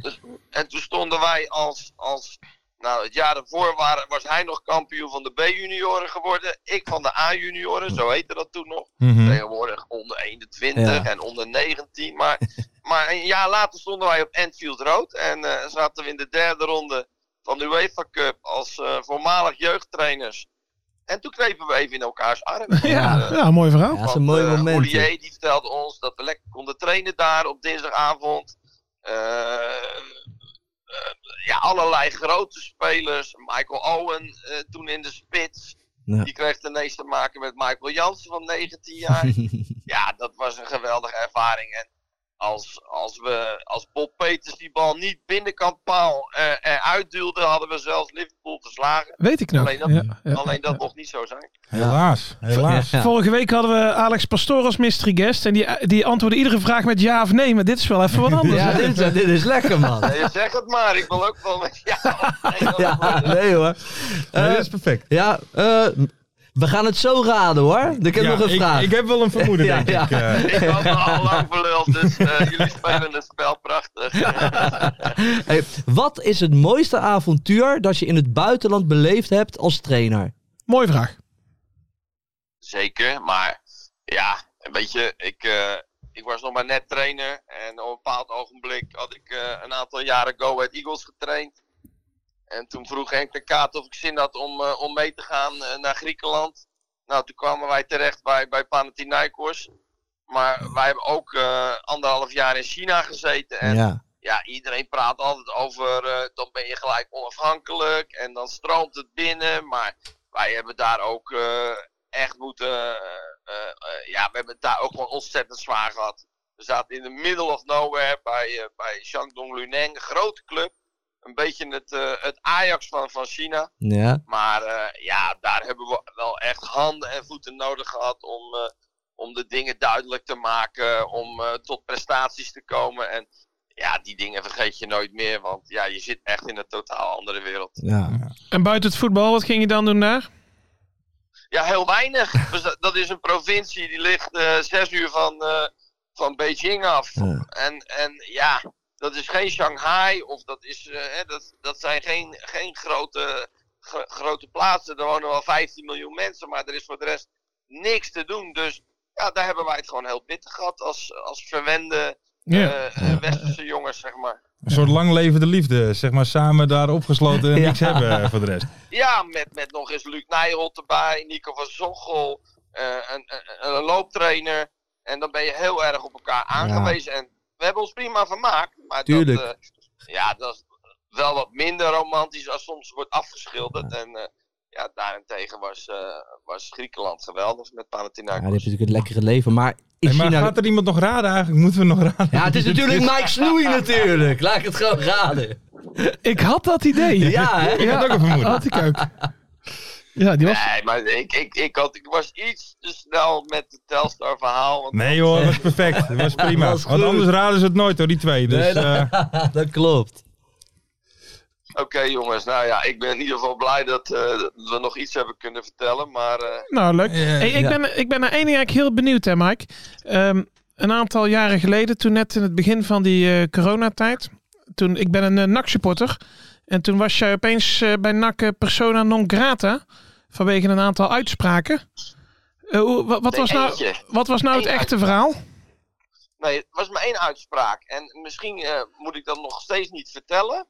En toen stonden wij als. als nou, het jaar daarvoor waren, was hij nog kampioen van de B-junioren geworden. Ik van de A-junioren, zo heette dat toen nog.
Mhm.
Tegenwoordig onder 21
Ja.
en onder 19. Maar, maar een jaar later stonden wij op Enfield Road. En eh, zaten we in de derde ronde van de UEFA Cup als eh, voormalig jeugdtrainers. En toen knepen we even in elkaars arm.
Ja,
Eh,
ja, mooi verhaal.
Ja, dat is een
want,
mooi
eh,
moment. joh.
Hoelier, die vertelde ons dat we lekker konden trainen daar op dinsdagavond. Eh, eh, ja, allerlei grote spelers. Michael Owen eh, toen in de spits.
Ja.
Die kreeg ineens te maken met Michael Jansen van 19 jaar. ja, dat was een geweldige ervaring. En als, als, we, als Bob Peters die bal niet binnenkant paal eh eruit duwde, hadden we zelfs Liverpool verslagen.
Weet ik nog.
Alleen dat-
Ja, ja.
Alleen dat mocht niet zo zijn.
Helaas, helaas.
Ja.
Vorige week hadden we Alex Pastoor als mystery guest. En die, die antwoordde iedere vraag met ja of nee. Maar dit is wel even wat anders.
Ja,
hè?
dit, is- dit is lekker, man.
Nee, zeg het maar, ik wil ook wel met jou. Nee, dat
Ja, nee hoor.
Nee,
Eh,
dat is perfect.
ja, eh, we gaan het zo raden hoor. Ik heb
Ja,
nog een
ik,
vraag.
Ik heb wel een vermoeden,
Ja,
denk ik. eh.
Ik had me al lang verluld, dus eh, jullie spelen het spel prachtig.
Hey, wat is het mooiste avontuur dat je in het buitenland beleefd hebt als trainer?
Mooie vraag.
Zeker, maar ja, weet je, ik, eh, ik was nog maar net trainer. En op een bepaald ogenblik had ik eh, een aantal jaren Go Ahead Eagles getraind. En toen vroeg Henk de Kaat of ik zin had om, eh, om mee te gaan eh, naar Griekenland. Nou, toen kwamen wij terecht bij, bij Panathinaikos. Maar wij hebben ook eh, anderhalf jaar in China gezeten.
Eh.
En
Ja.
ja, iedereen praat altijd over eh, dan ben je gelijk onafhankelijk en dan stroomt het binnen. Maar wij hebben daar ook eh, echt moeten. eh, eh, eh, ja, we hebben het daar ook gewoon ontzettend zwaar gehad. We zaten in de middle of nowhere bij, eh, bij Shandong Luneng, een grote club. Een beetje het, eh, het Ajax van, van China.
Ja.
Maar eh, ja, daar hebben we wel echt handen en voeten nodig gehad om, eh, om de dingen duidelijk te maken, om eh, tot prestaties te komen. En ja, die dingen vergeet je nooit meer, want ja, je zit echt in een totaal andere wereld.
ja.
En buiten het voetbal, wat ging je dan doen daar?
Ja, heel weinig. Dus dat- dat is een provincie die ligt eh, zes uur van, eh, van Beijing af.
Ja.
En, en ja, dat is geen Shanghai of dat, is, eh, hè, dat, dat zijn geen, geen grote, gro- grote plaatsen. Er wonen wel 15 miljoen mensen, maar er is voor de rest niks te doen. Dus ja, daar hebben wij het gewoon heel pittig gehad als, als verwende eh,
Ja.
eh, westerse jongens, zeg maar.
Een soort lang levende liefde, zeg maar, samen daar opgesloten en niks hebben eh, voor de rest.
Ja, met, met nog eens Luc Nijholt erbij, Nico van Zonchel, eh, een, een, een looptrainer. En dan ben je heel erg op elkaar aangewezen. En we hebben ons prima vermaakt. Maar
Tuurlijk.
dat, eh, ja, dat is wel wat minder romantisch als soms wordt afgeschilderd. En eh, ja, daarentegen was, eh, was Griekenland geweldig met
Ja, die
Panathinaikos.
heeft natuurlijk het lekkere leven, maar in
Hey, maar
China...
gaat er iemand nog raden eigenlijk? Moeten we nog raden?
Ja, het is natuurlijk Mike Snoei natuurlijk. Laat ik het gewoon raden.
Ik had dat idee.
Ja, hè?
Ik had ook een vermoeden.
Had ik ook. Ja, die was...
Nee, maar ik, ik, ik, had, ik was iets te snel met het Telstar verhaal. Want
Nee joh, dat was perfect. Dat was prima.
was
Want
goed.
anders raden ze het nooit hoor, die twee. Dus,
Nee, dat-
eh,
Dat klopt.
Oké jongens, nou ja, ik ben in ieder geval blij dat, eh, dat we nog iets hebben kunnen vertellen. Maar eh,
Nou, leuk. Hey, ik,
ja.
ben, ik ben naar één ding eigenlijk heel benieuwd, hè, Mike. Ehm, een aantal jaren geleden, toen net in het begin van die eh, coronatijd. Toen, ik ben een eh, NAC-supporter. En toen was jij opeens eh, bij NAC eh, persona non grata. Vanwege een aantal uitspraken. Eh, hoe- wa- wat,
Nee,
was nou,
eentje.
wat was nou het
Eén
echte
uitspraak.
verhaal?
Nee, het was maar één uitspraak. En misschien eh, moet ik dat nog steeds niet vertellen.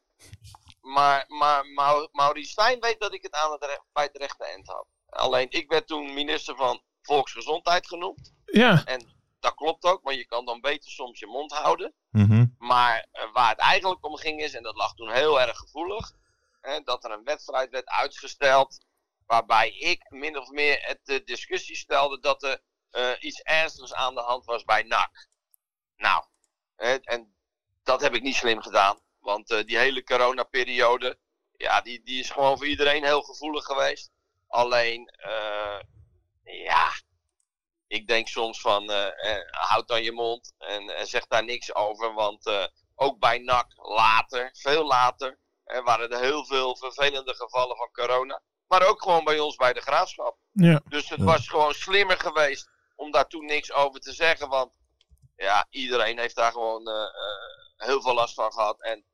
Maar, maar Mau- Maurice Stijn weet dat ik het aan het recht, bij het rechte eind had. Alleen ik werd toen minister van Volksgezondheid genoemd.
Ja,
Dat klopt ook, want je kan dan beter soms je mond houden.
mhm.
Maar eh, waar het eigenlijk om ging is, en dat lag toen heel erg gevoelig, hè, dat er een wedstrijd werd uitgesteld. Waarbij ik min of meer het de discussie stelde dat er eh, iets ernstigs aan de hand was bij NAC. Nou, hè, en dat heb ik niet slim gedaan. Want eh, die hele coronaperiode, ja, die, die is gewoon voor iedereen heel gevoelig geweest. Alleen, eh, ja, ik denk soms van, eh, eh, houd dan je mond en eh, zeg daar niks over. Want eh, ook bij NAC later, veel later, eh, waren er heel veel vervelende gevallen van corona. Maar ook gewoon bij ons bij de graafschap.
ja.
Dus het was gewoon slimmer geweest om daar toen niks over te zeggen. Want ja, iedereen heeft daar gewoon eh, eh, heel veel last van gehad. En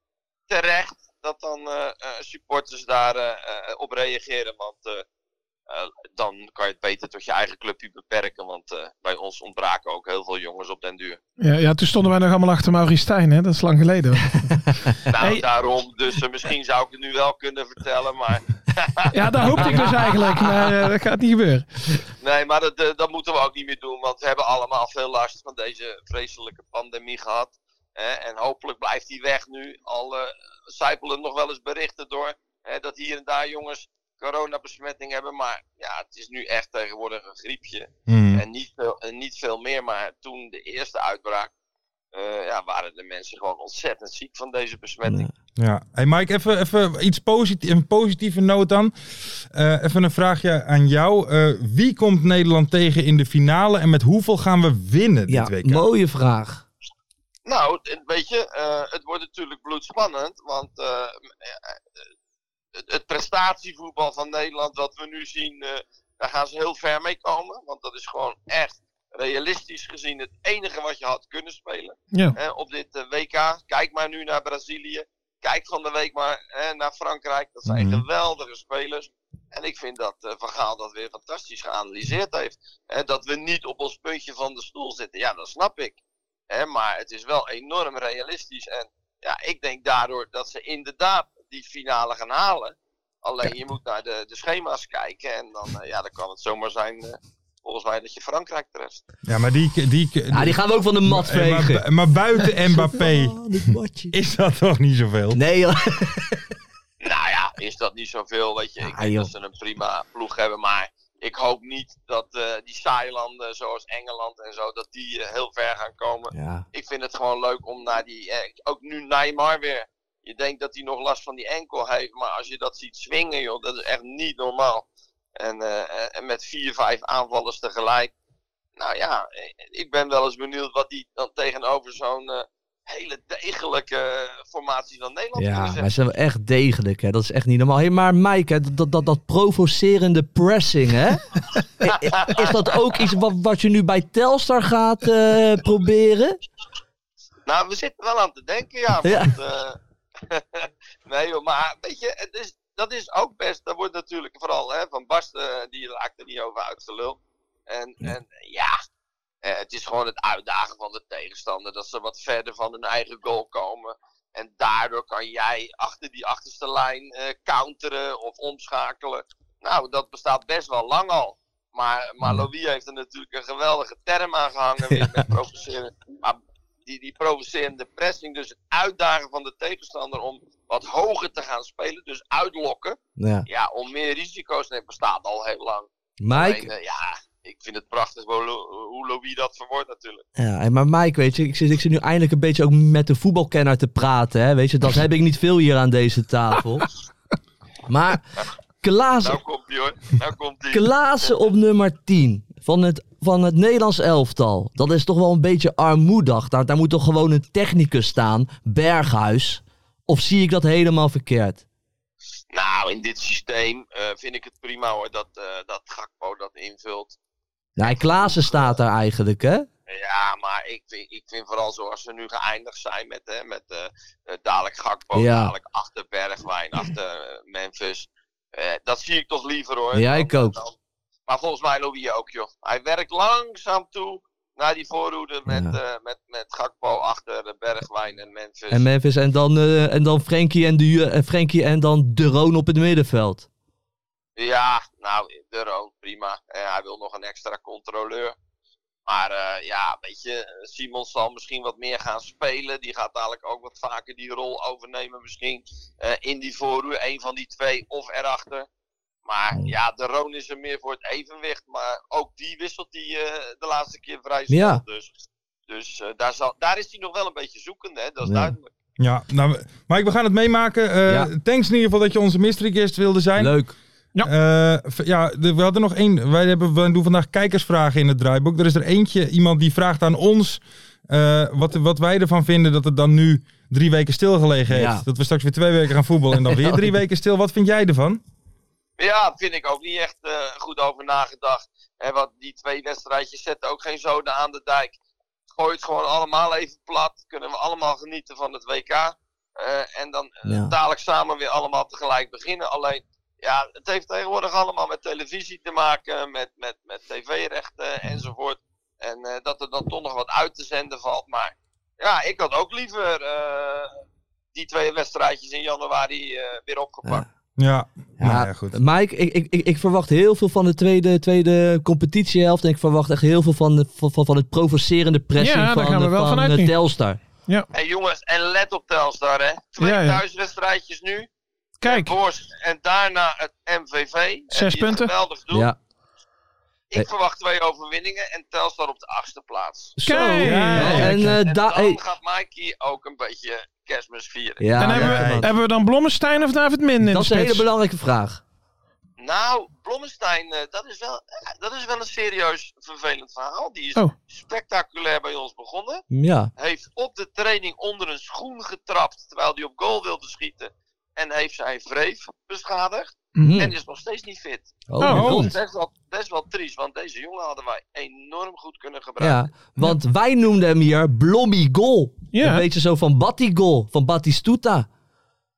terecht dat dan eh, eh, supporters daar eh, eh, op reageren. Want eh, eh, dan kan je het beter tot je eigen clubje beperken. Want eh, bij ons ontbraken ook heel veel jongens op den duur.
Ja, ja, toen stonden wij nog allemaal achter Maurice Stijn, hè? Dat is lang geleden.
Nou,
Hey.
daarom. Dus eh, misschien zou ik het nu wel kunnen vertellen. Maar
Ja, daar hoopte ik dus eigenlijk. Maar eh, dat gaat niet gebeuren.
Nee, maar dat, eh, dat moeten we ook niet meer doen. Want we hebben allemaal veel last van deze vreselijke pandemie gehad. hè. en hopelijk blijft die weg nu. Al eh zijpelen nog wel eens berichten door hè, dat hier en daar jongens coronabesmetting hebben. Maar ja, het is nu echt tegenwoordig een griepje.
Hmm.
En niet veel, en niet veel meer, maar toen de eerste uitbraak, eh, ja, waren de mensen gewoon ontzettend ziek van deze besmetting.
Ja. Hey Mike, even, even iets positief, een positieve noot dan. Eh, even een vraagje aan jou. Eh, wie komt Nederland tegen in de finale en met hoeveel gaan we winnen dit
Ja,
WK?
mooie vraag.
Nou, het- weet je, eh, het wordt natuurlijk bloedspannend, want eh, eh, het, het prestatievoetbal van Nederland wat we nu zien, eh, daar gaan ze heel ver mee komen. Want dat is gewoon echt realistisch gezien het enige wat je had kunnen spelen.
Ja.
hè, op dit eh, WK. Kijk maar nu naar Brazilië. Kijk van de week maar hè, naar Frankrijk. Dat zijn
Mhm.
geweldige spelers. En ik vind dat eh Van Gaal dat weer fantastisch geanalyseerd heeft. Hè, dat we niet op ons puntje van de stoel zitten. Ja, dat snap ik. Hè, maar het is wel enorm realistisch. En ja, ik denk daardoor dat ze inderdaad die finale gaan halen. Alleen je moet naar de, de schema's kijken. En dan, eh, ja, dan kan het zomaar zijn, eh, volgens mij, dat je Frankrijk treft.
Ja, maar die... die, die,
Ja, die gaan we ook van de mat
Eh, maar,
vegen.
bu- maar buiten Mbappé
Van het matje.
is dat toch niet zoveel?
Nee, joh.
Nou ja, is dat niet zoveel, weet je. Ik
Ah,
denk dat
joh.
ze een prima ploeg hebben, maar ik hoop niet dat eh, die saaie landen zoals Engeland en zo, dat die eh, heel ver gaan komen.
Ja.
Ik vind het gewoon leuk om naar die, eh, ook nu Neymar weer. Je denkt dat hij nog last van die enkel heeft, maar als je dat ziet swingen, joh, dat is echt niet normaal. En, eh, eh, en met vier, vijf aanvallers tegelijk. Nou ja, eh, ik ben wel eens benieuwd wat die dan tegenover zo'n eh, hele degelijke eh, formatie van Nederland kunnen
Ja,
zetten.
wij zijn wel echt degelijk, hè. Dat is echt niet normaal. Hey, maar Mike, hè, dat, dat, dat provocerende pressing, hè? Is dat ook iets wat, wat je nu bij Telstar gaat eh, proberen?
Nou, we zitten wel aan te denken, ja.
Ja.
Want, eh, nee joh, maar weet je, het is, dat is ook best, dat wordt natuurlijk vooral hè, van Basten, eh, die raakt er niet over uitgelul. En ja, en, ja eh, het is gewoon het uitdagen van de tegenstander, dat ze wat verder van hun eigen goal komen. En daardoor kan jij achter die achterste lijn eh, counteren of omschakelen. Nou, dat bestaat best wel lang al. Maar, maar Louis heeft er natuurlijk een geweldige term aan gehangen. Weer met provoceren. Maar die, die provocerende pressing, dus het uitdagen van de tegenstander om wat hoger te gaan spelen, dus uitlokken,
Ja.
ja, om meer risico's te nemen, bestaat al heel lang. Alleen,
Mike,
eh, ja, ik vind het prachtig hoe Lo- hoe Louis dat verwoordt natuurlijk.
Ja, en maar Mike, weet je, ik zit, ik zit nu eindelijk een beetje ook met de voetbalkenner te praten. Hè? Weet je, dat heb ik niet veel hier aan deze tafel. Maar Klaas,
Nou komt hij hoor, nou komt hij.
Klaassen op nummer 10 van het, van het Nederlands elftal. Dat is toch wel een beetje armoedig. Daar, daar moet toch gewoon een technicus staan, Berghuis. Of zie ik dat helemaal verkeerd?
Nou, in dit systeem eh, vind ik het prima hoor, dat, eh, dat Gakpo dat invult.
Nee, Klaassen staat daar eigenlijk, hè?
Ja, maar ik vind, ik vind vooral zoals ze nu geëindigd zijn met, hè, met eh, eh, dadelijk Gakpo,
Ja.
dadelijk achter Bergwijn, achter eh, Memphis. Eh, dat zie ik toch liever hoor.
Ja,
Dan-
ik ook.
dan- maar volgens mij Louis ook joh. Hij werkt langzaam toe naar die voorhoede met, eh, met, met Gakpo achter eh, Bergwijn en Memphis.
En Memphis en dan, eh, en dan Frenkie en, de, Ju- eh, Frenkie en dan De Roon op het middenveld.
Ja, nou, de Roon, prima. Eh, hij wil nog een extra controleur. Maar eh, ja, weet je, Simons zal misschien wat meer gaan spelen. Die gaat dadelijk ook wat vaker die rol overnemen misschien. Eh, in die vooruur, een van die twee of erachter. Maar ja, de Roon is er meer voor het evenwicht. Maar ook die wisselt hij eh, de laatste keer vrij snel.
Ja.
Dus, dus eh, daar, zal, daar is hij nog wel een beetje zoekende, hè? dat is
Ja.
duidelijk.
Ja, nou, we- Mike, we gaan het meemaken. Eh,
Ja.
Thanks in ieder geval dat je onze mystery guest wilde zijn.
Leuk.
Eh, v- ja, de- we hadden nog één. Wij hebben, we doen vandaag kijkersvragen in het draaiboek. Er is er eentje, iemand die vraagt aan ons eh, wat, wat wij ervan vinden dat het dan nu drie weken stilgelegen heeft.
Ja.
Dat we straks weer twee weken gaan voetballen en dan weer drie weken stil. Wat vind jij ervan?
Ja, vind ik ook niet echt eh, goed over nagedacht. En wat die twee wedstrijdjes zetten ook geen zoden aan de dijk. Gooi het gewoon allemaal even plat. Kunnen we allemaal genieten van het WK. Eh, en dan eh,
Ja.
dadelijk samen weer allemaal tegelijk beginnen. Alleen, ja, het heeft tegenwoordig allemaal met televisie te maken, met, met, met tv-rechten enzovoort. En eh, dat er dan toch nog wat uit te zenden valt. Maar ja, ik had ook liever eh, die twee wedstrijdjes in januari eh, weer opgepakt.
Ja, ja,
Ja,
ja goed.
Mike, ik, ik, ik, ik verwacht heel veel van de tweede, tweede competitiehelft. En ik verwacht echt heel veel van, de, van, van- van het provocerende pressing
Ja, daar
van,
gaan we wel
van,
vanuit
eh,
nu.
Telstar.
Hey jongens, en let op Telstar hè. Twee
Ja, ja.
thuiswedstrijdjes nu.
Kijk,
Borst en daarna het MVV. En
Zes
die het
punten.
Geweldig doen.
Ja.
Ik verwacht twee overwinningen en Telstar op de achtste plaats.
Zo.
Kijk.
Ja, en eh,
en
da-
dan
hey.
gaat Mikey ook een beetje kerstmis vieren.
Ja,
en hebben,
Nou, ja, man.
we, hebben we dan Blommestein of David Min
dat
in de
is een hele
spits?
belangrijke vraag.
Nou, Blommestein, eh, dat, is wel, eh, dat is wel een serieus vervelend verhaal. Die is
Oh.
spectaculair bij ons begonnen.
Ja.
heeft op de training onder een schoen getrapt terwijl hij op goal wilde schieten. En heeft zijn wreef beschadigd
Hm.
Mhm.
en is nog steeds niet fit.
Oh,
Oh.
god.
Dat is echt wel, best wel triest, want deze jongen hadden wij enorm goed kunnen gebruiken.
Ja, want wij noemden hem hier Blommy Goal.
Ja.
Een beetje zo van Batty Goal, van Batistuta.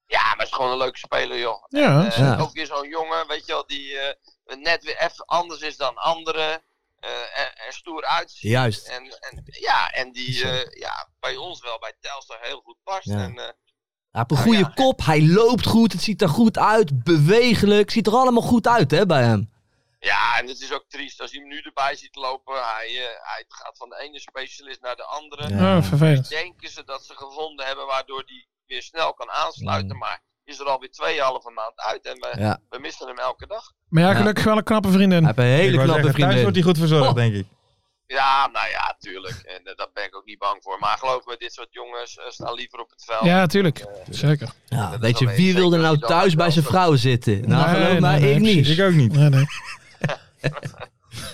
Ja, maar het is gewoon een leuke speler, joh.
Ja.
Eh,
Ja.
Ook weer zo'n jongen, weet je wel, die eh, net weer even anders is dan anderen. eh, en, en stoer uitziet.
Juist.
En, en, ja, en die eh, ja, bij ons wel, bij Telstar, heel goed past.
Ja.
En, eh,
Hij heeft een goede
Oh,
Ja.
kop, hij loopt goed, het ziet er goed uit, bewegelijk. Ziet er allemaal goed uit hè, bij hem.
Ja, en het is ook triest als je hem nu erbij ziet lopen. Hij, eh, hij gaat van de ene specialist naar de andere.
Oh, vervelend.
Denken ze dat ze gevonden hebben waardoor hij weer snel kan aansluiten. Maar is er alweer tweeënhalve maand uit en we,
Mm. Ja.
we missen hem elke dag.
Maar ja,
Ja.
gelukkig wel een knappe vriendin.
Hij heeft een
Ik
hele
wou
knappe
zeggen, thuis wordt
vriendin.
hij goed verzorgd,
Oh.
denk ik.
Ja, nou ja, tuurlijk. En eh, daar ben ik ook niet bang voor. Maar geloof me, dit soort jongens eh, staan liever op het veld.
Ja, tuurlijk. Zeker.
Ja,
is
weet je,
wel
wie
een-
wil er
zeker
nou
als je dan
thuis bij
wel
zijn
zo-
vrouw zitten? Nou,
Nee,
geloof
nee,
mij,
nee,
ik
precies.
niet.
Ik ook niet.
Ja, nee.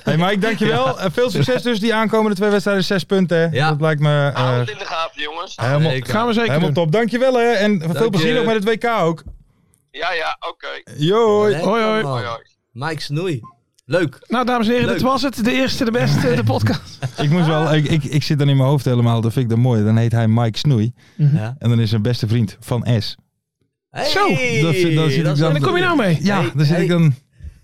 Hey Mike, dankjewel. Eh, veel succes dus die aankomende twee wedstrijden. Zes punten, hè?
Ja.
Dat lijkt me eh,
Hou het in de gaten, jongens.
helemaal,
Zeker.
Gaan we zeker
helemaal
doen.
top. Dankjewel, hè. En veel
je.
plezier nog met het WK ook.
Ja, ja, oké.
Joi.
Lekker,
Hoi, hoi.
man.
Hoi, hoi.
Mike Snoei. Leuk.
Nou, dames en heren,
Leuk.
dit was het. De eerste, de beste, de podcast.
Ik moest wel... Ik, ik, ik zit dan in mijn hoofd helemaal. Dat vind ik dan mooi. Dan heet hij Mike Snoei.
Ja.
En dan is zijn beste vriend van S.
Hey,
Zo, dat
vind- dat zit
is
ik dan-
En daar kom je nou mee.
Ja,
Hey,
dan zit
hey.
ik dan...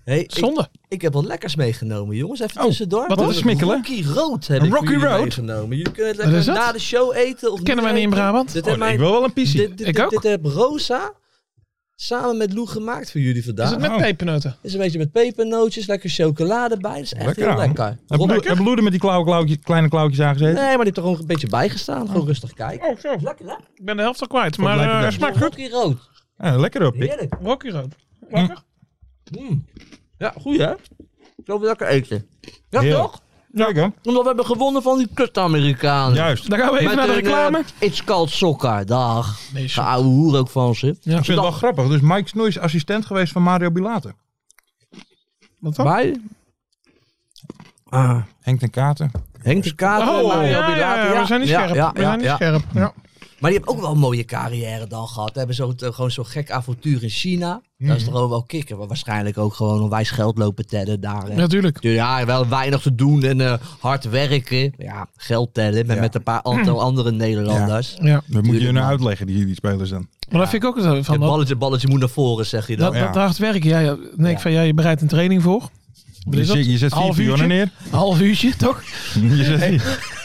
Hey, ik-
Zonde.
Ik heb wat lekkers meegenomen, jongens. Even
Oh,
tussendoor.
wat
Want
is smikkelen?
Rocky Road heb
Een
ik
Rocky
jullie
Road?
meegenomen. Jullie kunnen het
Wat
lekker
is dat?
na de show eten. Of
Kennen wij niet in
eten.
Brabant?
Dit
Oh,
heb
ik
mijn-
wil wel een
dit,
pissie.
dit,
Ik
dit-
ook.
dit heb Rosa samen met Lou gemaakt voor jullie vandaag.
Is het met
Oh.
pepernoten?
Is een beetje met pepernootjes, lekker chocolade bij. Dat is echt
Lekker,
heel
man.
lekker.
Heb
Rob-
Lou- Heb Lou er met die klauw, klauwtje- kleine klauwtjes aangezeten?
Nee, maar die heeft er gewoon een beetje bij gestaan. Gewoon
Oh.
rustig kijken. Lekker hè?
Ik ben de helft al kwijt, maar
blijkt het
eh,
dan?
smaakt goed.
Rocky Road.
Ah, lekker op, pik.
Heerlijk. Mm.
Rocky rood.
Hm.
Lekker.
Ja, goed hè? Zo lekker eten. Ja
Heerlijk.
toch?
Lekker.
Omdat we hebben gewonnen van die kut-Amerikanen.
Juist.
Dan gaan we even
Met
naar de
een,
reclame.
eh, It's called soccer. Dag.
Nee,
De oude hoer ook van ze.
Ik vind het wel grappig. Dus Mike Snoei is assistent geweest van Mario Bilate.
Wat dan?
Bij
Henk ten Katen.
Henk de Kater.
Oh,
Mario
ja, ja,
Bilater.
ja, we zijn niet
Ja,
scherp.
ja,
we
ja,
zijn niet
ja.
scherp. Ja.
Maar die hebben ook wel een mooie carrière dan gehad. Hebben zo, gewoon zo'n gek avontuur in China. Dat
Mhm.
is toch ook wel kicken. Maar waarschijnlijk ook gewoon onwijs geld lopen tellen daar. hè.
Natuurlijk.
Dus Ja, wel weinig te doen en eh, hard werken. Ja, geld tellen met,
Ja.
met een paar aantal andere Nederlanders.
Ja.
Dat moet je je
Tuurlijk,
nou
man.
uitleggen, die, die spelers dan.
Maar dat vind ik ook altijd
Het
van. Dat,
balletje, balletje moet naar voren, zeg je dan.
dat,
Ja.
dat hard werken. Ja, ja. Dan denk ik van, ja, je bereidt een training voor. Wat
Je
is dat?
zet, je zet vier
Half
pionnen
uurtje?
neer.
Half uurtje, toch?
Je zet vier-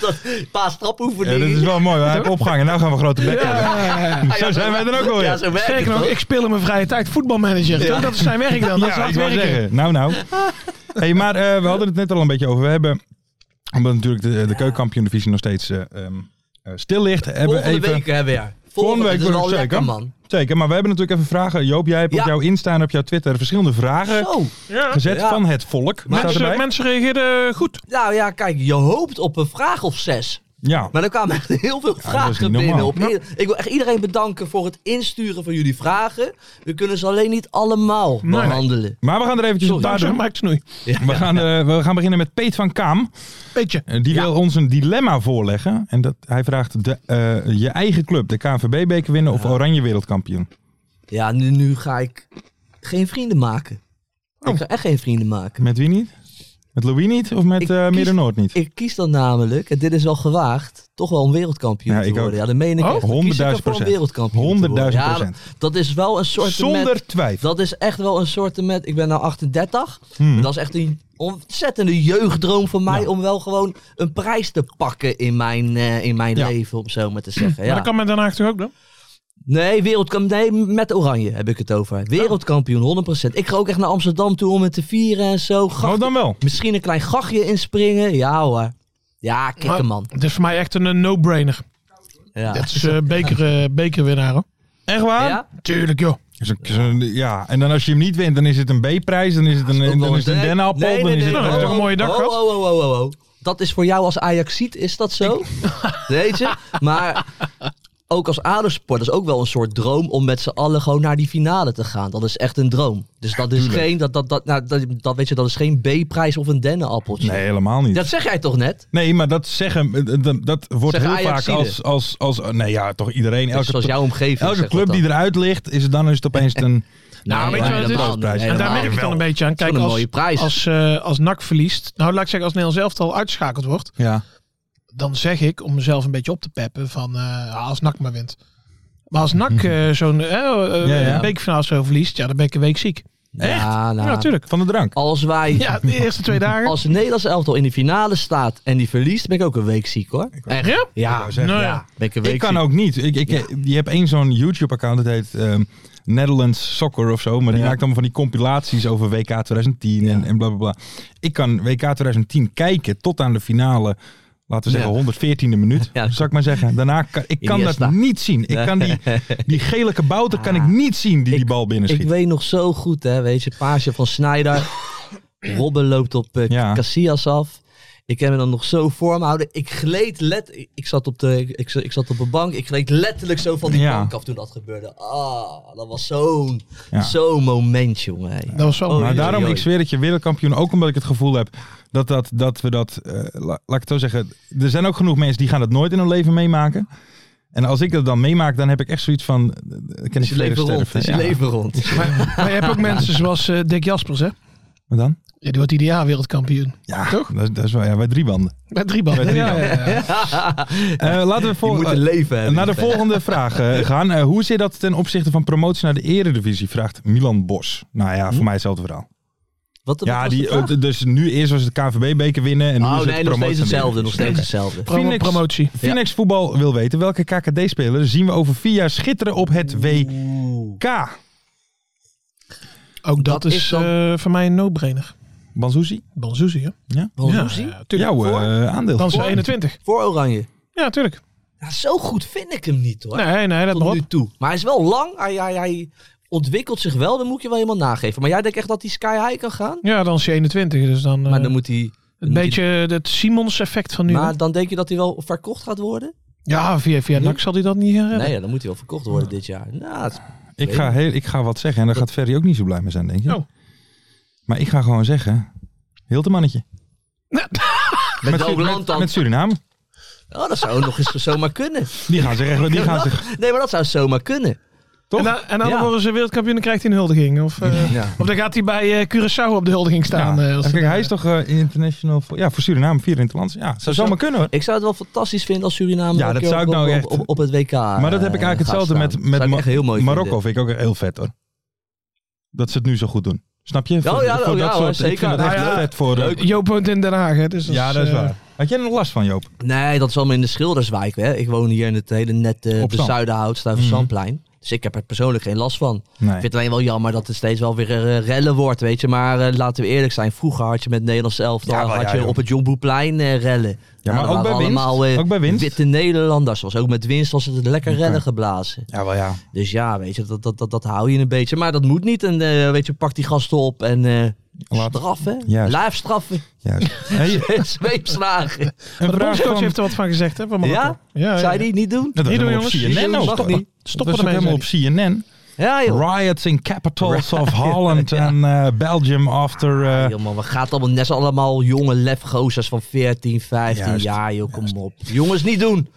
Dat, paar
Ja,
strapoefeningen.
dat is wel mooi. We hebben opgang en nou gaan we grote bek hebben. Zo zijn wij er ook alweer.
Ja, zo werkt
Zeker
het
nog,
ook.
ik speel in mijn vrije tijd voetbalmanager. toch? Dat is zijn werk dan. Dat is
Ja,
hard
ik wou
werken.
zeggen. Nou, nou. Hey, maar eh, we hadden het net al een beetje over. We hebben, omdat natuurlijk de, de keukenkampioen-divisie nog steeds eh, ehm, eh, stil ligt. Hebben
Volgende
we even,
week hebben we er.
Volgende week
dat is
wordt
wel
het
lekker,
zeker.
man.
Zeker, maar we hebben natuurlijk even vragen. Joop, jij hebt
Ja.
op jouw Insta en op jouw Twitter verschillende vragen
Zo.
Ja.
gezet
Ja.
van het volk. Staat
Mensen,
erbij.
mensen reageerden goed.
Nou ja, kijk, je hoopt op een vraag of zes.
Ja,
Maar er kwamen echt heel veel vragen
niet
binnen.
normaal.
Op ieder- Ik wil echt iedereen bedanken voor het insturen van jullie vragen. We kunnen ze alleen niet allemaal behandelen.
maar we gaan er eventjes een paar
Dankzij
doen.
Mike Snoei.
We gaan, eh, we gaan beginnen met Peet van Kaam.
Beetje.
Eh, Die wil ons een dilemma voorleggen. En dat, hij vraagt de, eh, je eigen club, de KNVB-beker winnen of Oranje wereldkampioen.
Ja, nu, nu ga ik geen vrienden maken.
Oh.
Ik ga echt geen vrienden maken.
Met wie niet? Met Louis niet of met
Ik
eh
kies-
Midden-Noord niet?
Ik kies dan namelijk, en dit is wel gewaagd, toch wel een wereldkampioen
Ja,
te
ik ook.
worden. Ja, dat meen ik
Oh,
echt. Dan kies ik ervoor
100.000%.
een wereldkampioen te worden.
100.000%.
Ja, dat is wel een soort
Zonder twijfel.
Dat is echt wel een soort met. Ik ben nou 38.
Hmm.
Dat is echt een ontzettende jeugddroom van mij om wel gewoon een prijs te pakken in mijn, eh, in mijn
Ja.
leven, om zo maar te zeggen.
Maar
Ja.
dat kan men daarna toch ook doen?
Nee, wereldkampioen. Nee, met Oranje heb ik het over. Wereldkampioen, 100%. Ik ga ook echt naar Amsterdam toe om het te vieren en zo. Gach-
Oh, dan wel.
Misschien een klein gachje inspringen. Ja hoor. Ja, kikker man.
Het is voor mij echt een eh, no-brainer.
Ja.
Dat is eh, beker, eh, bekerwinnaar hoor.
Echt waar?
Ja?
Tuurlijk joh.
Zo'n- zo'n- ja, en dan als je hem niet wint, dan is het een B-prijs, dan is het een,
Ook wel
dan is het een
eens-
dennenappel,
Nee, nee,
dan is
nee,
het...
Nou,
nee,
dat is
eh,
toch een mooie dag
oh,
gehad?
oh, oh, oh, oh, oh. Dat is voor jou als Ajaxiet, is dat zo? Weet je? Maar ook als adersport is ook wel een soort droom om met z'n allen gewoon naar die finale te gaan. Dat is echt een droom. Dus dat is geen, dat, dat, dat, nou, dat, dat, weet je, dat is geen B-prijs of een dennenappeltje.
nee, helemaal niet.
Dat zeg jij toch net?
Nee, maar dat zeggen, eh, dat- dat wordt
Zeggen
heel vaak als,
Ajaxiden.
als, als, nee ja, toch iedereen,
Dat is
elke,
zoals jouw omgeving.
elke
zegt dat
club die
dan.
eruit ligt, is het dan is het opeens een...
Nou, weet je wat het is?
helemaal niet,
En daar
helemaal
merk ik
niet.
dan een beetje aan.
is wel
Kijk,
een
als,
mooie prijs.
als, eh, als NAC verliest, nou laat ik zeggen, als Nederland zelf al uitschakeld wordt,
Ja.
dan zeg ik, om mezelf een beetje op te peppen, van eh, ah, als NAC maar wint. Maar als NAC eh, zo'n eh, eh,
Mhm. Ja, ja.
bekerfinale zo verliest, ja, dan ben ik een week ziek.
Ja,
Ja,
nou,
natuurlijk.
Van de drank.
Als wij,
Ja, de eerste twee dagen.
als het Nederlands elftal in de finale staat en die verliest, ben ik ook een week ziek hoor. Echt?
Ja?
Ja,
zeggen,
Nou
ja.
ja.
ben ik een week
Ik kan
ziek.
ook niet. Ik, ik, Je hebt één zo'n YouTube-account, dat heet ehm, Netherlands Soccer of zo. Maar die
Ja.
maakt allemaal van die compilaties over WK 2010 en, en bla bla bla. Ik kan WK 2010 kijken tot aan de finale, laten we zeggen 114e minuut,
Ja.
zou ik maar zeggen. Daarna kan ik kan dat
Iniesta.
niet zien. Ik kan die, die gele kabouter kan ik niet zien die die bal binnen
Ik
schiet.
weet nog zo goed, hè, weet je, paasje van Snyder. Robben loopt op eh,
Ja.
Casillas af. Ik heb me dan nog zo voor me houden. Ik gleed let, ik zat op de, ik, zat- ik zat op een bank. Ik gleed letterlijk zo van die
Ja.
bank af toen dat gebeurde. Ah, dat was zo'n,
Ja.
zo'n moment, jongen. hè.
Dat was wel
Oh,
mooi.
Maar
Oei,
daarom,
oei,
ik
oei.
zweer dat je wereldkampioen, ook omdat ik het gevoel heb dat, dat, dat we dat, eh, la- laat ik het zo zeggen, er zijn ook genoeg mensen die gaan dat nooit in hun leven meemaken. En als ik dat dan meemaak, dan heb ik echt zoiets van, eh, dan
Is
ken ik
je
verleden
leven rond?
sterven.
Is je
Ja.
leven rond?
Maar, maar je hebt ook mensen zoals eh, Dick Jaspers, hè?
Wat dan?
Ja, die wordt ieder jaar wereldkampioen.
Ja, Toch? Dat, dat is wel, ja, bij drie banden.
Met drie ballen.
Bij drie banden. Eh, laten we
Je
vol-
moet een
eh,
leven hebben.
naar de volgende vraag eh, gaan. Eh, hoe zit dat ten opzichte van promotie naar de eredivisie, vraagt Milan Bos. Nou ja, voor mij hetzelfde verhaal.
Wat, wat
Ja,
Hm? was
die,
de vraag?
eh, dus nu eerst was het KVB-beker winnen en nu is
Oh
het
nee, nog
promotie
steeds
naar de
hetzelfde. Nog
Eredivisie.
steeds hetzelfde.
Promo-
Phoenix-
promotie.
Phoenix Voetbal wil weten welke KKD-speler zien we over vier jaar schitteren op het WK?
Ook dat,
Dat
is
is dan-
eh, voor mij een no-brainer.
Banzuzi?
Banzuzi, hè?
Banzuzi?
Ja, tuurlijk.
Jouw eh, aandeel.
Dan is hij 21.
Voor Oranje.
Ja, tuurlijk.
Ja, zo goed vind ik hem niet hoor.
Nee, nee, dat
tot nu
nog.
toe. Maar hij is wel lang. Hij, hij, hij ontwikkelt zich wel. Dan moet je wel helemaal nageven. Maar jij denkt echt dat hij sky high kan gaan?
Ja, dan is hij 21. Dus dan, eh,
maar dan moet hij...
een beetje het Simons-effect van nu. hè?
maar Hm? dan denk je dat hij wel verkocht gaat worden?
Ja, via, via NAC zal hij dat niet gaan redden.
Nee, ja, dan moet hij wel verkocht worden dit jaar. Nou, het-
Ik ga, heel, ik ga wat zeggen en daar gaat Ferry ook niet zo blij mee zijn, denk je.
Oh.
Maar ik ga gewoon zeggen, Hiltemannetje.
met,
Met,
welk
Su-
land
met-
dan?
met Suriname.
Oh, dat zou nog eens zomaar kunnen.
Die gaan zich echt... Die gaan zich,
Nee, maar dat zou zomaar kunnen.
toch?
En, dan- en dan
Ja.
worden ze wereldkampioen en krijgt hij een huldiging. Of, eh,
Ja.
of dan gaat hij bij eh, Curaçao op de huldiging staan.
Ja.
eh, als
Kijk,
dat-
hij is toch eh, international... voor- Ja, voor Suriname, vier in het land. Ja, zou zomaar kunnen hoor.
Ik zou het wel fantastisch vinden als Suriname
Ja,
ook
dat
op-
zou ik
op,
nou
op,
echt-
op, op het WK eh,
Maar dat heb ik eigenlijk hetzelfde met, met Ma- Marokko. Vind ik ook heel vet hoor. Dat ze het nu zo goed doen. Snap je? Voor-
ja,
voor
oh, ja,
dat
hoor,
soort, ik
zeker.
vind het echt
Nou ja,
vet voor... eh,
Joop woont in Den Haag. Hè, dus dat
Ja, dat is
eh,
waar. Had jij er nog last van, Joop?
Nee, dat is allemaal in de Schilderswijk. Hè. Ik woon hier in het hele net eh
Op Zand. Mhm.
Bezuidenhout, Stuyvesantplein. Dus ik heb er persoonlijk geen last van. Ik vind het alleen wel jammer dat het steeds wel weer eh, rellen wordt, weet je. Maar eh, laten we eerlijk zijn, vroeger had je met Nederlands elftal,
Ja, wel,
had
ja,
je
joh.
op het John Boeplein eh, rellen.
Ja,
Nou,
maar
dat
ook bij
waren
winst?
allemaal, eh,
Ook bij winst?
Witte Nederlanders was ook met winst was het lekker rellen geblazen.
Ja, wel ja.
Dus ja, weet je, dat, dat, dat, dat hou je een beetje. Maar dat moet niet. En eh, weet je, pak die gasten op en eh
Laat-
straffen.
Juist.
Lijf straffen.
Juist. Hey, een
Zweepslagen.
De
vraag
bondscoach
van-
heeft er wat van gezegd. Hè, van Marokko.
Ja?
ja,
Zou
ja.
je die niet doen?
Dat was
Hier doen,
helemaal op
jongens.
CNN.
Mag
ook.
niet.
Dat
Stoppen
was ook
ermee,
helemaal op
zei
CNN.
Ja, joh.
Riots in capitals of Holland en eh, Belgium after... eh,
joh man, we gaan allemaal net allemaal jonge lefgozers van 14, 15
Juist,
jaar, joh, kom op. Jongens, niet doen.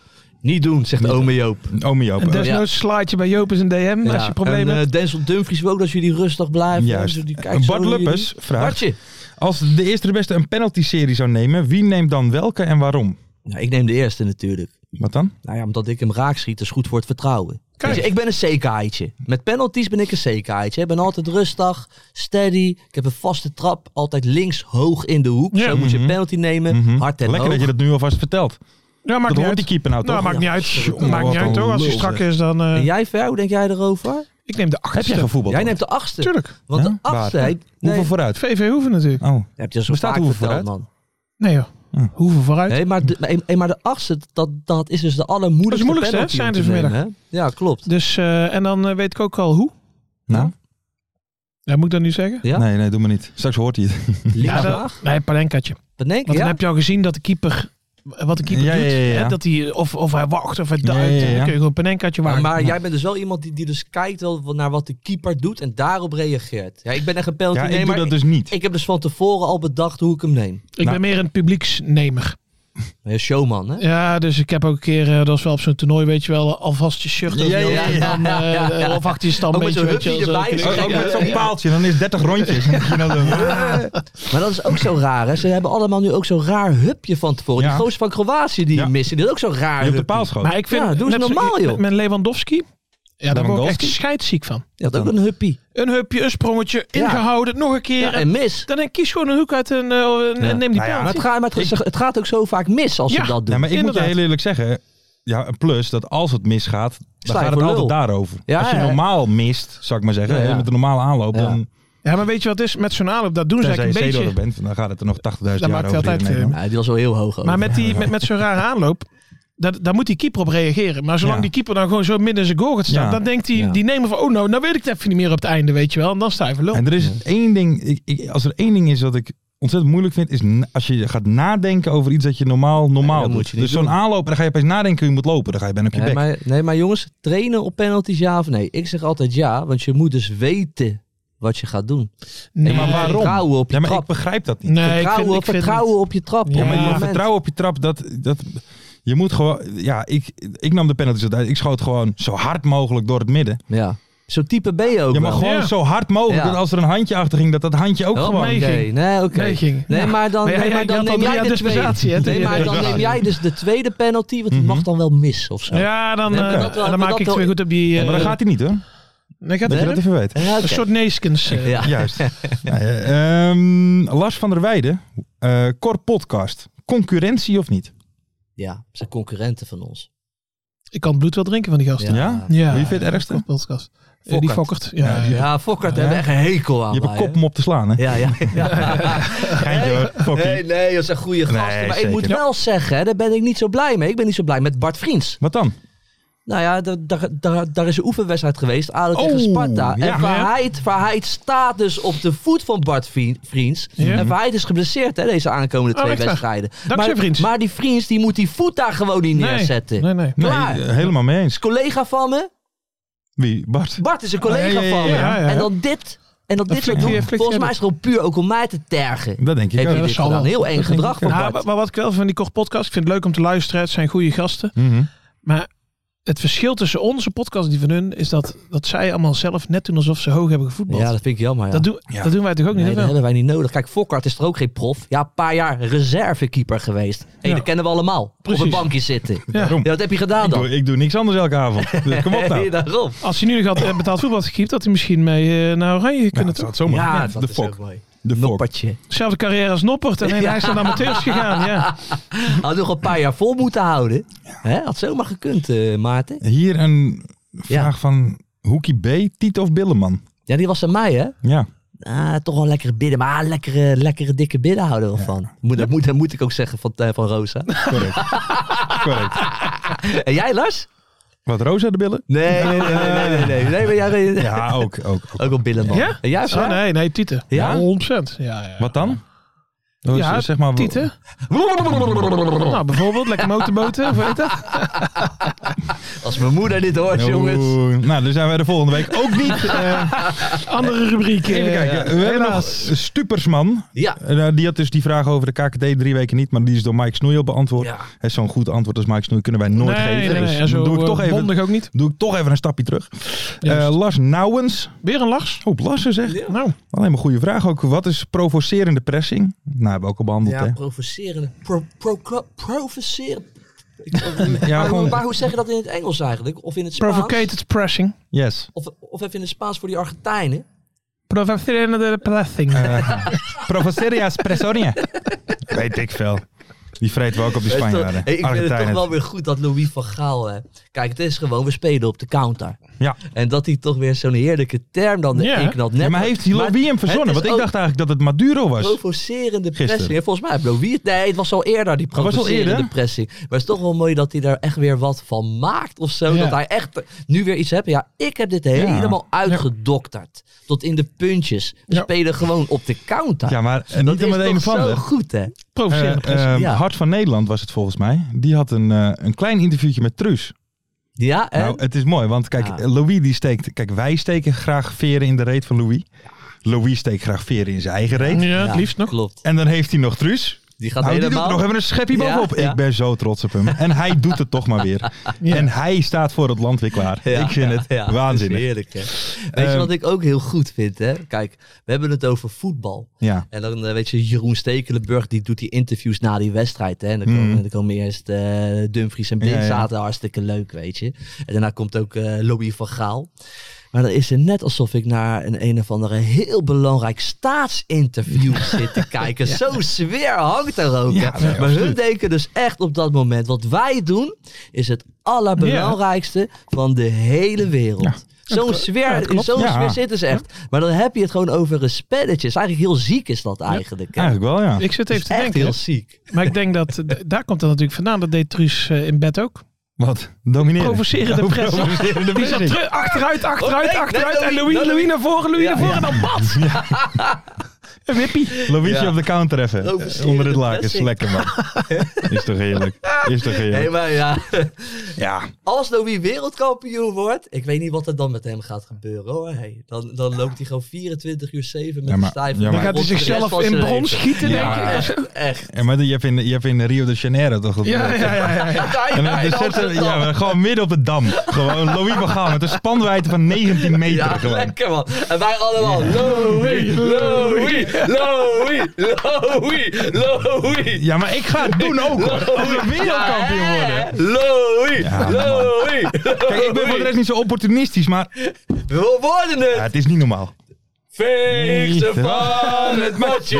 Niet doen, zegt ome Joop.
Ome Joop.
dus-
En desnoods slaat je bij Joop eens een DM als je problemen
en,
hebt.
eh, Denzel Dumfries wil ook dat jullie rustig blijven.
Juist.
Dus die kijkt
Eh,
zo
Bart
naar jullie.
Luppes vraagt...
Bartje.
Als de eerste de beste een penalty-serie zou nemen, wie neemt dan welke en waarom?
Nou, ik neem de eerste natuurlijk.
Wat dan?
Nou ja, omdat ik hem raak schiet, is goed voor het vertrouwen.
Kijk.
Weet je, ik ben een zekerheidje. Met penalties ben ik een zekerheidje. Ik ben altijd rustig, steady. Ik heb een vaste trap, altijd links hoog in de hoek.
Ja. Mhm.
Zo moet je een penalty nemen, hard en
Mhm. Lekker
hoog.
dat je dat nu alvast vertelt.
Ja, maakt
eh, Dat
niet
hoort
uit.
die keeper nou toch?
Nou, maakt niet uit.
Jongen,
maakt niet
wat
uit
een
hoor. Als hij
lul,
strak
zeg.
is, dan... eh,
En jij, Ver, hoe denk jij erover?
Ik neem de
Heb
achtste.
jij gevoetbald?
Jij neemt de achtste.
Tuurlijk.
Want
Ja?
de achtste...
Waar?
heeft- Nee,
Hoeveel vooruit?
VV hoeven natuurlijk.
Oh,
Heb je zo
Bestaat
vaak
hoeveel
verteld,
vooruit?
man.
Nee joh.
Hm.
Hoeven vooruit.
Nee, maar de, maar- maar de achtste, dat, dat is dus de allermoeilijkste
Dat is moeilijkste, hè,
penalty om
zijn
te
ze
nemen, hè? Ja, klopt.
Dus, eh, en dan eh, weet ik ook al hoe.
nou?
Ja, moet ik dat nu zeggen?
Ja?
Nee, nee, doe maar niet. Straks hoort hij het.
Lina
dat-
Vraag.
Nee, Palenkaatje.
Bedenk,
Want dan
ja?
heb je al gezien dat de keeper... Wat de keeper
Ja, ja,
doet.
ja, ja.
Hè? Dat hij, of, of hij wacht of hij duikt.
ja, ja.
Dan kun je gewoon een Panenkaatje
Maar,
wagen.
maar jij bent dus wel iemand die, die dus kijkt wel wat- naar wat de keeper doet en daarop reageert. Ja, ik ben echt een penalty
Ja, ik doe
nemer.
dat dus niet.
Ik heb dus van tevoren al bedacht hoe ik hem neem.
Ik
Nou.
ben meer een publieksnemer.
Een showman, hè?
Ja, dus ik heb ook een keer, eh, dat is wel op zo'n toernooi, weet je wel, alvast je shirt over
Ja,
je
ja,
hoofd en
ja,
dan, eh,
ja, ja.
Of achter je
Ook met
standbeetje,
zo'n
weet je wel.
hupje
zo.
erbij.
Ook- Ook Oh, met zo'n paaltje, dan is 30 rondjes. eh,
Maar dat is ook zo raar, hè? Ze hebben allemaal nu ook zo'n raar hupje van tevoren.
Ja.
Die gozer van Kroatië die
Ja.
je mist, die had ook zo'n raar
Je hebt de
hupje.
paal schoot.
Maar ik vind,
Ja, doe eens
net zo-
normaal, joh.
Met, met Lewandowski, ja, daar word ik echt
Lewandowski?
scheidsziek van.
Die had ook een huppie.
Een hupje, een sprongetje,
Ja.
ingehouden, nog een keer.
Ja,
en
en mis.
dan denk ik, kies gewoon een hoek uit en, eh, en
Ja.
neem die
Nou ja,
penalty.
Maar het gaat, maar het, het gaat ook zo vaak mis als
Ja.
ze dat doen.
Ja, maar ik moet je
Inderdaad.
heel eerlijk zeggen. Ja, een plus dat als het misgaat,
Sta
dan
je
gaat
voor
het
lul.
altijd daarover.
Ja,
als je
ja.
normaal mist, zou ik maar zeggen,
Ja, ja.
met een normale aanloop,
Ja.
dan
Ja, maar weet je wat het is? Met zo'n aanloop, dat doen ze
tenzij je
eigenlijk een beetje...
zeedoder bent, dan gaat het er nog 80.000 jaar
Dat
over.
maakt hij altijd,
in Nederland.
Ja, die was wel heel hoog over.
Maar met, die, met, met zo'n rare aanloop, dat, daar moet die keeper op reageren. Maar zolang
Ja.
die keeper dan gewoon zo midden in zijn goal gaat staan,
Ja.
dan denkt die,
Ja.
die nemer van, oh nou, nou weet ik het even niet meer op het einde, weet je wel. En dan sta je verloren.
En er is één ding, ik, ik, als er één ding is dat ik ontzettend moeilijk vind, is na- als je gaat nadenken over iets dat je normaal normaal
dat moet
doet.
je niet
Dus zo'n
doen.
aanloop, en dan ga je opeens nadenken hoe je moet lopen. Dan ga je bijna op je
nee,
bek.
maar, nee, maar jongens, trainen op penalties ja of nee? Ik zeg altijd ja, want je moet dus weten wat je gaat doen.
Nee,
Ja, maar waarom?
Vertrouwen op je
Ja, maar ik
trap.
begrijp dat niet.
Nee, ik
vertrouwen
vind, ik
op,
vind
vertrouwen op je trap.
Ja,
Ja,
op
maar
het
je
moment.
vertrouwen op je trap, dat, dat, je moet gewoon... Ja, ik, ik nam de penalties uit. Ik schoot gewoon zo hard mogelijk door het midden.
Ja. Zo'n type ben je ook.
Je mag
wel.
gewoon
Ja.
zo hard mogelijk,
Ja.
dat als er een handje achter ging, dat dat handje ook
Oh,
gewoon...
nee,
meeging.
Nee, oké.
Meeging.
Nee,
Ja.
maar dan,
Maar jij-
nee, maar
jij
dan
had al
neem
drie
jij
jaar
de
dispensatie,
tweede.
hè,
Nee,
tegen
maar dan
België.
neem jij dus de tweede penalty, want die mag dan wel mis of zo.
het- Ja, dan,
Nee,
eh,
oké.
dan,
Dat- dat-
maak
dat-
ik het weer goed op die... eh,
Maar dan gaat hij niet hoor.
nee, gaat
Dat
het
je dat even weet.
Ja, oké.
Een soort neeskens. eh.
Ja.
Juist. Nou ja, ehm, Lars van der Weijden, eh Cor Podcast. Concurrentie of niet?
Ja, ze zijn concurrenten van ons.
Ik kan het bloed wel drinken van die gasten.
Ja?
Ja.
Ja.
Wie vind je het ergste?
Kort podcast. Eh, die fokkert. Ja,
Ja, die-
Ja, Fokkert hebben echt een hekel aan
Je hebt een
mij,
kop
hè.
om op te slaan hè?
Ja, ja. ja.
Geintje hoor, fokkie.
Nee, nee, dat zijn goede gasten.
Nee,
maar
zeker.
ik moet wel zeggen, hè, daar ben ik niet zo blij mee. Ik ben niet zo blij met Bart Vriends.
Wat dan?
Nou ja, da- da- da- daar is een oefenwedstrijd geweest. ADO tegen
Oh,
Sparta.
ja.
En Verheid, Verheid staat dus op de voet van Bart Vien- Vriends.
Ja.
En Verheid is geblesseerd hè, deze aankomende
Oh,
twee
echt waar?
wedstrijden.
Dankzij
maar,
Vriends.
Maar die Vriends die moet die voet daar gewoon niet
Nee.
neerzetten.
Nee, nee.
Nee,
Klaar.
eh, helemaal mee eens.
Is collega van me.
Wie? Bart?
Bart is een collega
Ja, ja, ja,
van me.
ja, ja.
En dan dit. En dan dit soort
flikt
doen.
hij- flikt hij
Volgens mij
uit.
is het gewoon puur ook om mij te tergen.
Dat denk ik
Heeft
ook.
hij
dat
dit
zal
gedaan.
wel.
Heel eng
Dat denk
gedrag
ik
van
ook.
Nou,
Bart.
maar wat ik wel van die kort podcast, ik vind het leuk om te luisteren. Het zijn goede gasten.
Mhm.
Maar het verschil tussen onze podcast en die van hun is dat, dat zij allemaal zelf net doen alsof ze hoog hebben gevoetbald.
Ja, dat vind ik jammer. Ja.
dat, doen,
Ja.
dat doen wij toch ook niet?
Nee,
of
dat
wel?
hebben wij niet nodig. Kijk, Fokkart is er ook geen prof. Ja, een paar jaar reservekeeper geweest. Hé,
Ja.
dat kennen we allemaal.
Precies.
Op een bankje zitten. Ja.
Daarom.
wat heb je gedaan
Ik
Ah, dan?
doe, ik doe niks anders elke avond. Dus kom op nou.
Hey, daarom.
Als hij nu nog had eh, betaald voetbal gekiept, had hij misschien mee eh, naar Oranje
Ja,
kunnen.
Nou, dat
toch?
zou het
ja,
zomaar. Ja,
dat
de
is
fok.
ook mooi.
De fok.
Noppertje.
Zelfde carrière als Noppert. En hij is naar de amateurs gegaan. Ja.
Had nog een paar jaar vol moeten houden. Hè? Had zomaar gekund, eh, Maarten.
Hier een vraag van Hoekie B. Tito of Billeman?
Ja, die was aan mij, hè?
Ja.
Ah, toch wel lekkere bidden. Maar ah, lekkere, lekkere dikke bidden houden we van. Moet, dat, moet, dat moet ik ook zeggen van, eh, van Rosa.
Correct. Correct.
en jij, Lars?
Wat, Rosa de billen?
Nee, nee, nee, nee, nee. nee, nee, nee, maar jij,
Ja, ook. ook.
Ook wel billen, man.
Ja?
En jij,
Oh,
Frank?
nee, nee, Tieten.
Ja?
100%. Ja, ja.
Wat dan? Dus,
Ja,
eh, zeg maar,
Tieten. Nou, bijvoorbeeld lekker motorboten. Of weet dat?
Als mijn moeder dit hoort,
Oeh,
jongens.
Nou, dan zijn wij de volgende week ook niet. eh,
Andere rubriek. eh,
even kijken. We hebben nog
helaas.
Stupersman.
Ja.
Eh, die had dus die vraag over de KKD drie weken niet, maar die is door Mike Snoei al beantwoord.
Ja.
Hè, Zo'n goed antwoord als Mike Snoei kunnen wij nooit
nee,
geven.
nee, nee.
dus
en zo
doe ik
eh,
toch even...
bondig ook niet.
Doe ik toch even een stapje terug. Eh
Juist.
Lars Nouwens.
Weer een lars.
Oh, Lassen zeg.
Nou,
Alleen maar goede vraag ook. Wat is provocerende pressing? Nou, hebben we ook al behandeld,
Ja,
hè?
provocerende. Pro, pro, pro- provoceren.
Ja,
maar, hoe-
gewoon-
maar hoe zeg je dat in het Engels eigenlijk? Of in het Spaans?
provocated pressing.
Yes.
Of, of even in het Spaans voor die Argentijnen?
Provocerende pressing.
Eh, Provoceria Pressonia. Weet ik veel. Die vreten we ook op de
Weet je toch?
Spanjaarden.
Hey, ik vind het toch
Argentijnen.
wel weer goed dat Louis van Gaal... Hè. Kijk, het is gewoon, we spelen op de counter.
Ja.
En dat hij toch weer zo'n heerlijke term dan
Ja.
ja. inknalt. Net
Ja, maar heeft Louis hem verzonnen?
het is
Want ik
ook
dacht eigenlijk dat het Maduro was.
Provocerende
Gisteren. Oh,
pressing. En volgens mij heeft Louis... het- Nee, het was al eerder die
al
provocerende
eerder?
pressing. Maar het is toch wel mooi dat hij daar echt weer wat van maakt of zo.
Ja.
Dat hij echt nu weer iets heeft. Ja, ik heb dit helemaal uitgedokterd. Tot in de puntjes. We
Ja.
spelen gewoon op de counter.
Ja, maar eh,
Nou, dat
niet
is
om het een
toch
of
zo
ander.
goed, hè?
Eh,
Provocerende pressing.
eh,
Ja.
Hart van Nederland was het volgens mij. Die had een, eh, een klein interviewtje met Truus.
Ja, en? Ah.
Nou, het is mooi, want kijk,
Ja.
Louis die steekt... Kijk, wij steken graag veren in de reet van Louis. Louis steekt graag veren in zijn eigen reet.
ja, eh, het
Ja,
liefst nog.
Klopt.
En dan heeft hij nog Truus.
Die gaat
Nou, die doet
helemaal...
er nog even een schepje
Ja,
bovenop.
ja.
Ik ben zo trots op hem. En hij doet het toch maar weer. En hij staat voor het land weer klaar.
Ja,
ik vind
ja,
het
ja, is
waanzinnig.
heerlijk, hè? Weet je
Ehm,
wat ik ook heel goed vind, hè? Kijk, we hebben het over voetbal.
Ja.
En dan eh, weet je, Jeroen Stekelenburg die doet die interviews na die wedstrijd. Hè? En dan komen, dan komen eerst eh, Dumfries en Blind
Mm. Ja, ja.
zaten hartstikke leuk, weet je. En daarna komt ook eh Louis van Gaal. Maar dan is het net alsof ik naar een een of andere heel belangrijk staatsinterview zit te kijken. Zo'n sfeer hangt er ook.
Ja,
hè?
nee,
maar hun
absoluut.
denken dus echt op dat moment. Wat wij doen is het allerbelangrijkste van de hele wereld. Zo'n sfeer, in zo'n
Ja.
sfeer zitten ze echt. Maar dan heb je het gewoon over een spelletje. Is eigenlijk heel ziek is dat eigenlijk. hè?
Eigenlijk wel, ja.
Ik zit
Het
even
is
te
echt
denken.
heel ziek.
Maar ik denk dat, d- daar komt dat natuurlijk vandaan. Dat deed Truus eh, in bed ook.
Wat? Domineren.
Provocerende
Oh,
pressing.
provocerende
Die zat
pressing.
terug, achteruit, achteruit,
Oh, nee,
achteruit.
nee,
En
Louis,
Louis,
nee, Louis.
Louis naar voren, Louis
Ja.
naar voren en dan bats. Een wippie.
Louisje
Ja.
op de counter even.
Provocerende
Eh, Onder het laken. Is
pressing.
lekker, man. Is toch heerlijk. Is toch heerlijk.
Nee, maar ja.
ja.
Als Louis wereldkampioen wordt, ik weet niet wat er dan met hem gaat gebeuren hoor. Hey, dan, dan loopt hij gewoon 24 uur 7 met
Ja,
een
maar-
stijve
ja, maar-
Dan
mond
gaat hij
voor de rest
zichzelf
van
in
zijn
bron
leven.
schieten, denk
Ja.
ik.
Echt, echt.
En maar je hebt, in, je hebt in Rio de Janeiro toch... dat-
Ja, ja, ja. ja, ja.
En dan
in
zetten we-
Amsterdam.
ja, maar gewoon midden op de dam. Gewoon Louis van Gaal met een spanwijdte van 19 meter.
Ja,
gewoon.
lekker man. En wij allemaal, Louis, Louis, Louis, Louis, Louis.
Ja, maar ik ga het doen ook. hoor. Als we wereldkampioen
Ja,
worden.
hè? Louis,
Ja, man.
Louis,
Kijk, ik ben voor de rest niet zo opportunisch, maar
We worden
ja,
het
het is niet normaal.
feesten van het matje.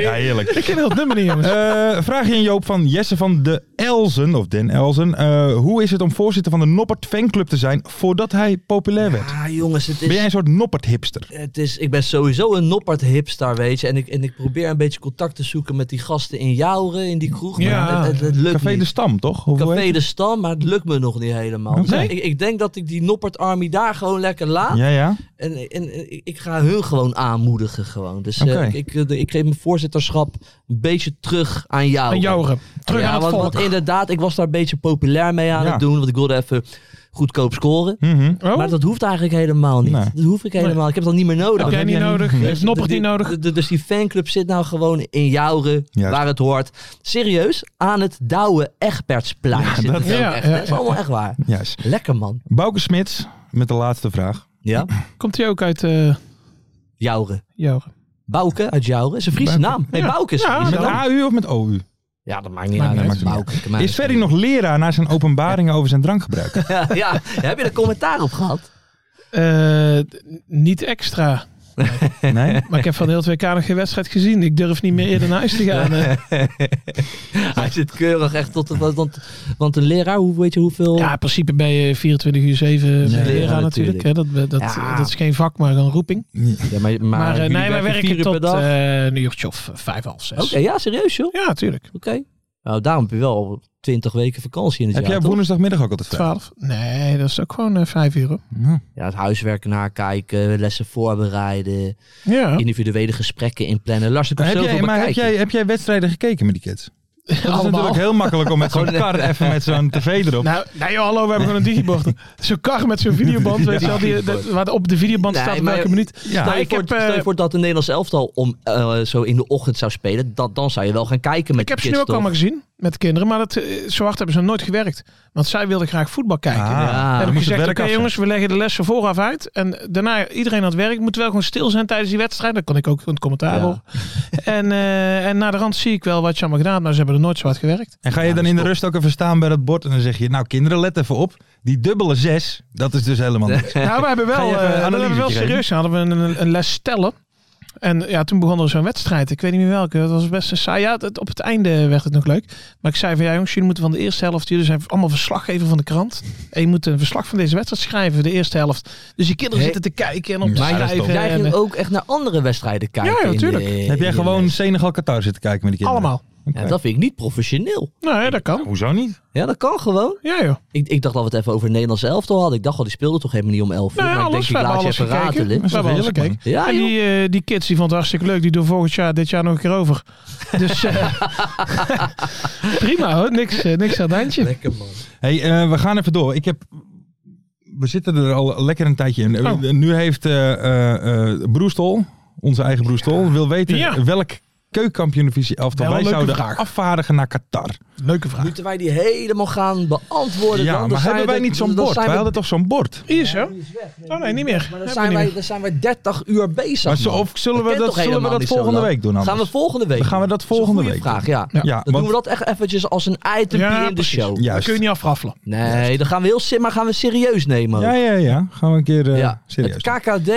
Ja, heerlijk.
Ik ken heel het nummer niet, jongens.
Eh, vraagje in Joop van Jesse van de Elzen, of Den Elzen. Eh, hoe is het om voorzitter van de Noppert fanclub te zijn voordat hij populair werd?
Ah jongens, het
Ben jij
is,
een soort Noppert hipster?
het is, ik ben sowieso een noppert hipster, weet je. En ik, en ik probeer een beetje contact te zoeken met die gasten in Jouren, in die kroeg. Maar
Ja,
het, het, het lukt
Café
niet.
de Stam, toch? Of hoe heet
Café
het?
de Stam, maar het lukt me nog niet helemaal.
Oké.
Dus ik, ik denk dat ik die Noppert Army daar gewoon lekker laat.
Ja, ja.
En, en, en ik- ik ga hun gewoon aanmoedigen gewoon. Dus eh,
Oké.
ik, ik, ik geef mijn voorzitterschap een beetje terug aan jou.
Een jouweren. Terug
ja,
aan het
want, want
volk.
inderdaad, ik was daar een beetje populair mee aan
Ja.
het doen. Want ik wilde even goedkoop scoren.
Mhm.
Oh,
Maar dat hoeft eigenlijk helemaal niet.
Nee.
Dat hoef ik helemaal Ik heb dat niet meer nodig.
heb jij niet nodig? Heeft Noppert
Dus
niet
die-
nodig?
de- de- Dus die fanclub zit nou gewoon in Jouren,
Juist.
waar het hoort. Serieus, aan het Douwe Egbertsplein zit
dat-
het ook
Ja,
echt.
ja,
hè. Dat is
ja.
allemaal echt waar.
Juist.
Lekker man.
Bouke Smits, met de laatste vraag.
Ja?
Komt hij ook uit eh
Jouren.
jouweren?
Bouke uit Jouren. Is een Friese naam. Nee, Bouke is
Ja,
Fries.
Met AU of met OU?
Ja, dat maakt niet
Maakt
uit.
niet
hè.
uit.
Bouke. kan mij
Is
niet
Ferry nog leraar na zijn openbaringen over zijn drankgebruik?
schelen. ja, heb je er commentaar op gehad?
Eh, d- niet extra.
Nee?
Maar ik heb van de hele 2K nog geen wedstrijd gezien. Ik durf niet meer eerder naar huis te gaan. eh.
Hij zit keurig echt tot... tot- Want, want een leraar, hoe, weet je hoeveel...
Ja, in principe ben je 24 uur 7
Ja, natuurlijk.
leraar natuurlijk. hè. Dat, dat,
Ja.
dat is geen vak, maar een roeping.
Ja, maar, maar,
Maar eh,
jullie
nee, wij
vier
werken
uur per
tot
dag. Oké,
eh een uurtje of vijf, half zes.
ja, serieus joh.
Ja, natuurlijk.
Oké. Nou, daarom heb je wel 20 weken vakantie in het
Heb
jaar.
jij
toch?
woensdagmiddag ook altijd vrij?
Twaalf? Nee, dat is ook gewoon eh, vijf uur. hoor.
Ja, het huiswerk nakijken, lessen voorbereiden,
Ja.
individuele gesprekken inplannen. Lars, ik heb
Heb
zoveel
jij, maar heb
bekijken.
jij, heb jij wedstrijden gekeken met die kids? Dat is
Allemaal.
natuurlijk heel makkelijk om met zo'n
Gewoon, eh,
kar even met zo'n tv erop.
Nou, nee joh, hallo, we hebben gewoon een digibord. Zo'n kar met zo'n videoband, weet je wel, die, dat- waar op de videoband
Nee,
staat
maar-
welke minuut.
Ja.
Stel,
Nou,
je
ik
voor,
heb, eh,
stel je voor dat de Nederlands elftal om, eh, zo in de ochtend zou spelen, dat, dan zou je wel gaan kijken met
ik heb
de
ze nu
kids,
ook allemaal gezien met de kinderen, maar dat, eh, zo hard hebben ze nog nooit gewerkt. Want zij wilden graag voetbal kijken.
Ah,
Ja.
dan
Heb
heb
moet
ik
het
gezegd,
werk
oké
af zijn.
jongens, we leggen de lessen vooraf uit. En daarna, iedereen aan het werk moet wel gewoon stil zijn tijdens die wedstrijd. Dat kon ik ook in het commentaar
Ja.
horen. En, eh en na de rand zie ik wel wat je allemaal gedaan hebt. Nou, ze hebben er nooit zo hard gewerkt.
En ga je
Ja,
dan
dat
in de
is
rust ook even staan bij dat bord en dan zeg je, nou kinderen, let even op. Die dubbele zes, dat is dus helemaal niks.
Nou, we hebben
Ga
wel,
je even
eh,
een
we hebben wel
analysetje
serieus. Hadden we een, een les stellen. En ja, toen begon er zo'n wedstrijd. Ik weet niet meer welke. Dat was best een saai. Ja, het, op het einde werd het nog leuk. Maar ik zei van ja, jongens, jullie moeten van de eerste helft. Jullie zijn allemaal verslaggever van de krant. En je moet een verslag van deze wedstrijd schrijven, de eerste helft. Dus die kinderen
Hey.
zitten te kijken en op te
Maar jij-
schrijven.
Jij
en, eh,
ging ook echt naar andere wedstrijden kijken.
Ja, ja,
in de-
tuurlijk.
Heb jij
in de-
gewoon Senegal Qatar zitten kijken met die kinderen?
allemaal.
Oké.
Ja, dat vind ik niet professioneel.
Nee, dat kan.
Hoezo niet?
Ja, dat kan gewoon.
Ja joh.
Ik, ik dacht dat we het even over het Nederlands elftal hadden. Ik dacht al, die speelden toch helemaal niet om 11 uur.
Nou ja,
maar ik
alles.
denk,
We
ik
hebben
laat je
alles
even
gekeken.
ratelen.
We hebben alles gekeken.
Ja,
En
joh.
die, eh, die kids die vonden het hartstikke leuk. Die doen volgend jaar, dit jaar nog een keer over. Dus eh, prima hoor. Niks, eh, niks aan het handje.
Lekker man.
Hey, eh, we gaan even door. Ik heb... We zitten er al lekker een tijdje in.
Oh.
Eh, Nu heeft eh, eh, eh, Broestol, onze eigen Broestol, wil weten
Ja.
welk keukenkampioen-divisie elftal
Wel een
wij
leuke
zouden
vraag.
afvaardigen naar Qatar.
Leuke vraag.
Moeten wij die helemaal gaan beantwoorden?
ja,
dan?
maar hebben wij niet zo'n bord? Wij hadden toch zo'n bord?
Hier zo. Oh nee, niet meer.
Maar
Heb
dan
ik
zijn,
niet
wij,
meer.
dan zijn wij 30 uur bezig.
Maar zo-
man.
of zullen we
kent
dat,
toch
zullen we
helemaal
dat
niet zo
volgende
lang?
week doen anders?
Gaan we volgende week?
Dan gaan we dat
doen.
volgende
Goeie
week
vraag, ja.
Ja,
Dan
want-
doen we dat echt eventjes als een item
Ja,
in de
precies.
show.
Juist.
Kun je niet afraffelen.
Nee, dan gaan we heel sim- maar gaan we serieus nemen. ook.
Ja, ja, ja. Gaan we een keer eh,
Ja, Het
serieus.
KKD,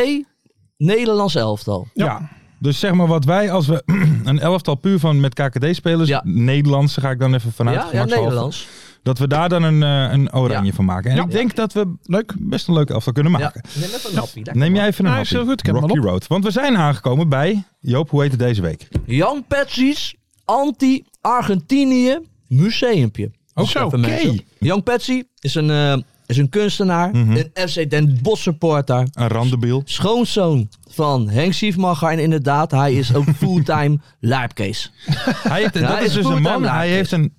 Nederlands elftal.
Ja. Dus zeg maar wat wij, als we een elftal puur van met KKD-spelers,
Ja.
Nederlandse ga ik dan even vanuit,
Ja, ja,
gemakshalve,
Nederlands.
dat we daar dan een, eh, een oranje
Ja.
van maken. En
Ja.
ik denk dat we leuk, best een leuk elftal kunnen
Ja.
maken.
Neem even een happie. lekker
Neem
man.
jij even een
Nou, is
hapje.
heel goed. Ik heb hem
Rocky
al op.
Road. Want we zijn aangekomen bij, Joop, hoe heet het deze week?
Jan Petsies, anti-Argentinië museumpje.
Ook
Even
oké.
mensen. Jan Petsie is een, eh, is een kunstenaar,
Mhm.
een FC Den Bosch supporter,
Een randebiel.
schoonzoon van Henk Siefmacher en inderdaad, hij is ook fulltime lijpkees.
Hij heeft, dat
hij
is
is
dus
goed
een man,
aanraken.
hij heeft een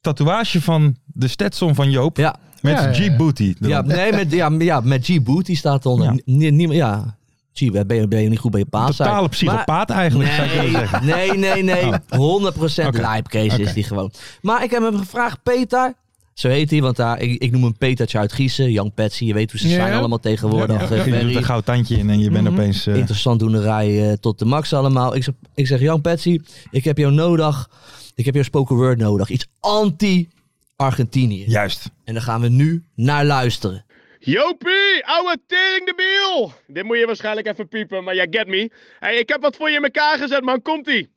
tatoeage van de Stetson van Joop
Ja.
met
Ja, ja, ja.
G-Booty.
Ja, nee, met, ja, ja, met G. Booty staat onder.
Ja.
Ja. Niemand, ja. G, ben je, ben je niet goed bij je paas?
Totale psychopaat eigenlijk, zou ik willen
Nee,
zeggen. Oh.
nee, nee, nee. 100%
Oké.
lijpcase
Oké.
is die gewoon. Maar ik heb hem gevraagd, Peter. Zo heet hij, want daar, ik, ik noem hem Petertje uit Giezen. Jan Petsy, je weet hoe ze
Ja.
zijn allemaal tegenwoordig.
Ja,
eh,
je doet
Ferry.
een goud tandje in en je
Mhm.
bent opeens... eh,
Interessant doenerij eh, tot de max allemaal. Ik zeg, ik zeg Jan Petsy, ik heb jou nodig. Ik heb jouw spoken word nodig. Iets anti-Argentinië.
Juist.
En daar gaan we nu naar luisteren.
Jopie, ouwe tering de biel! Dit moet je waarschijnlijk even piepen, maar jij get me. Hey, ik heb wat voor je in elkaar gezet, man. Komt-ie!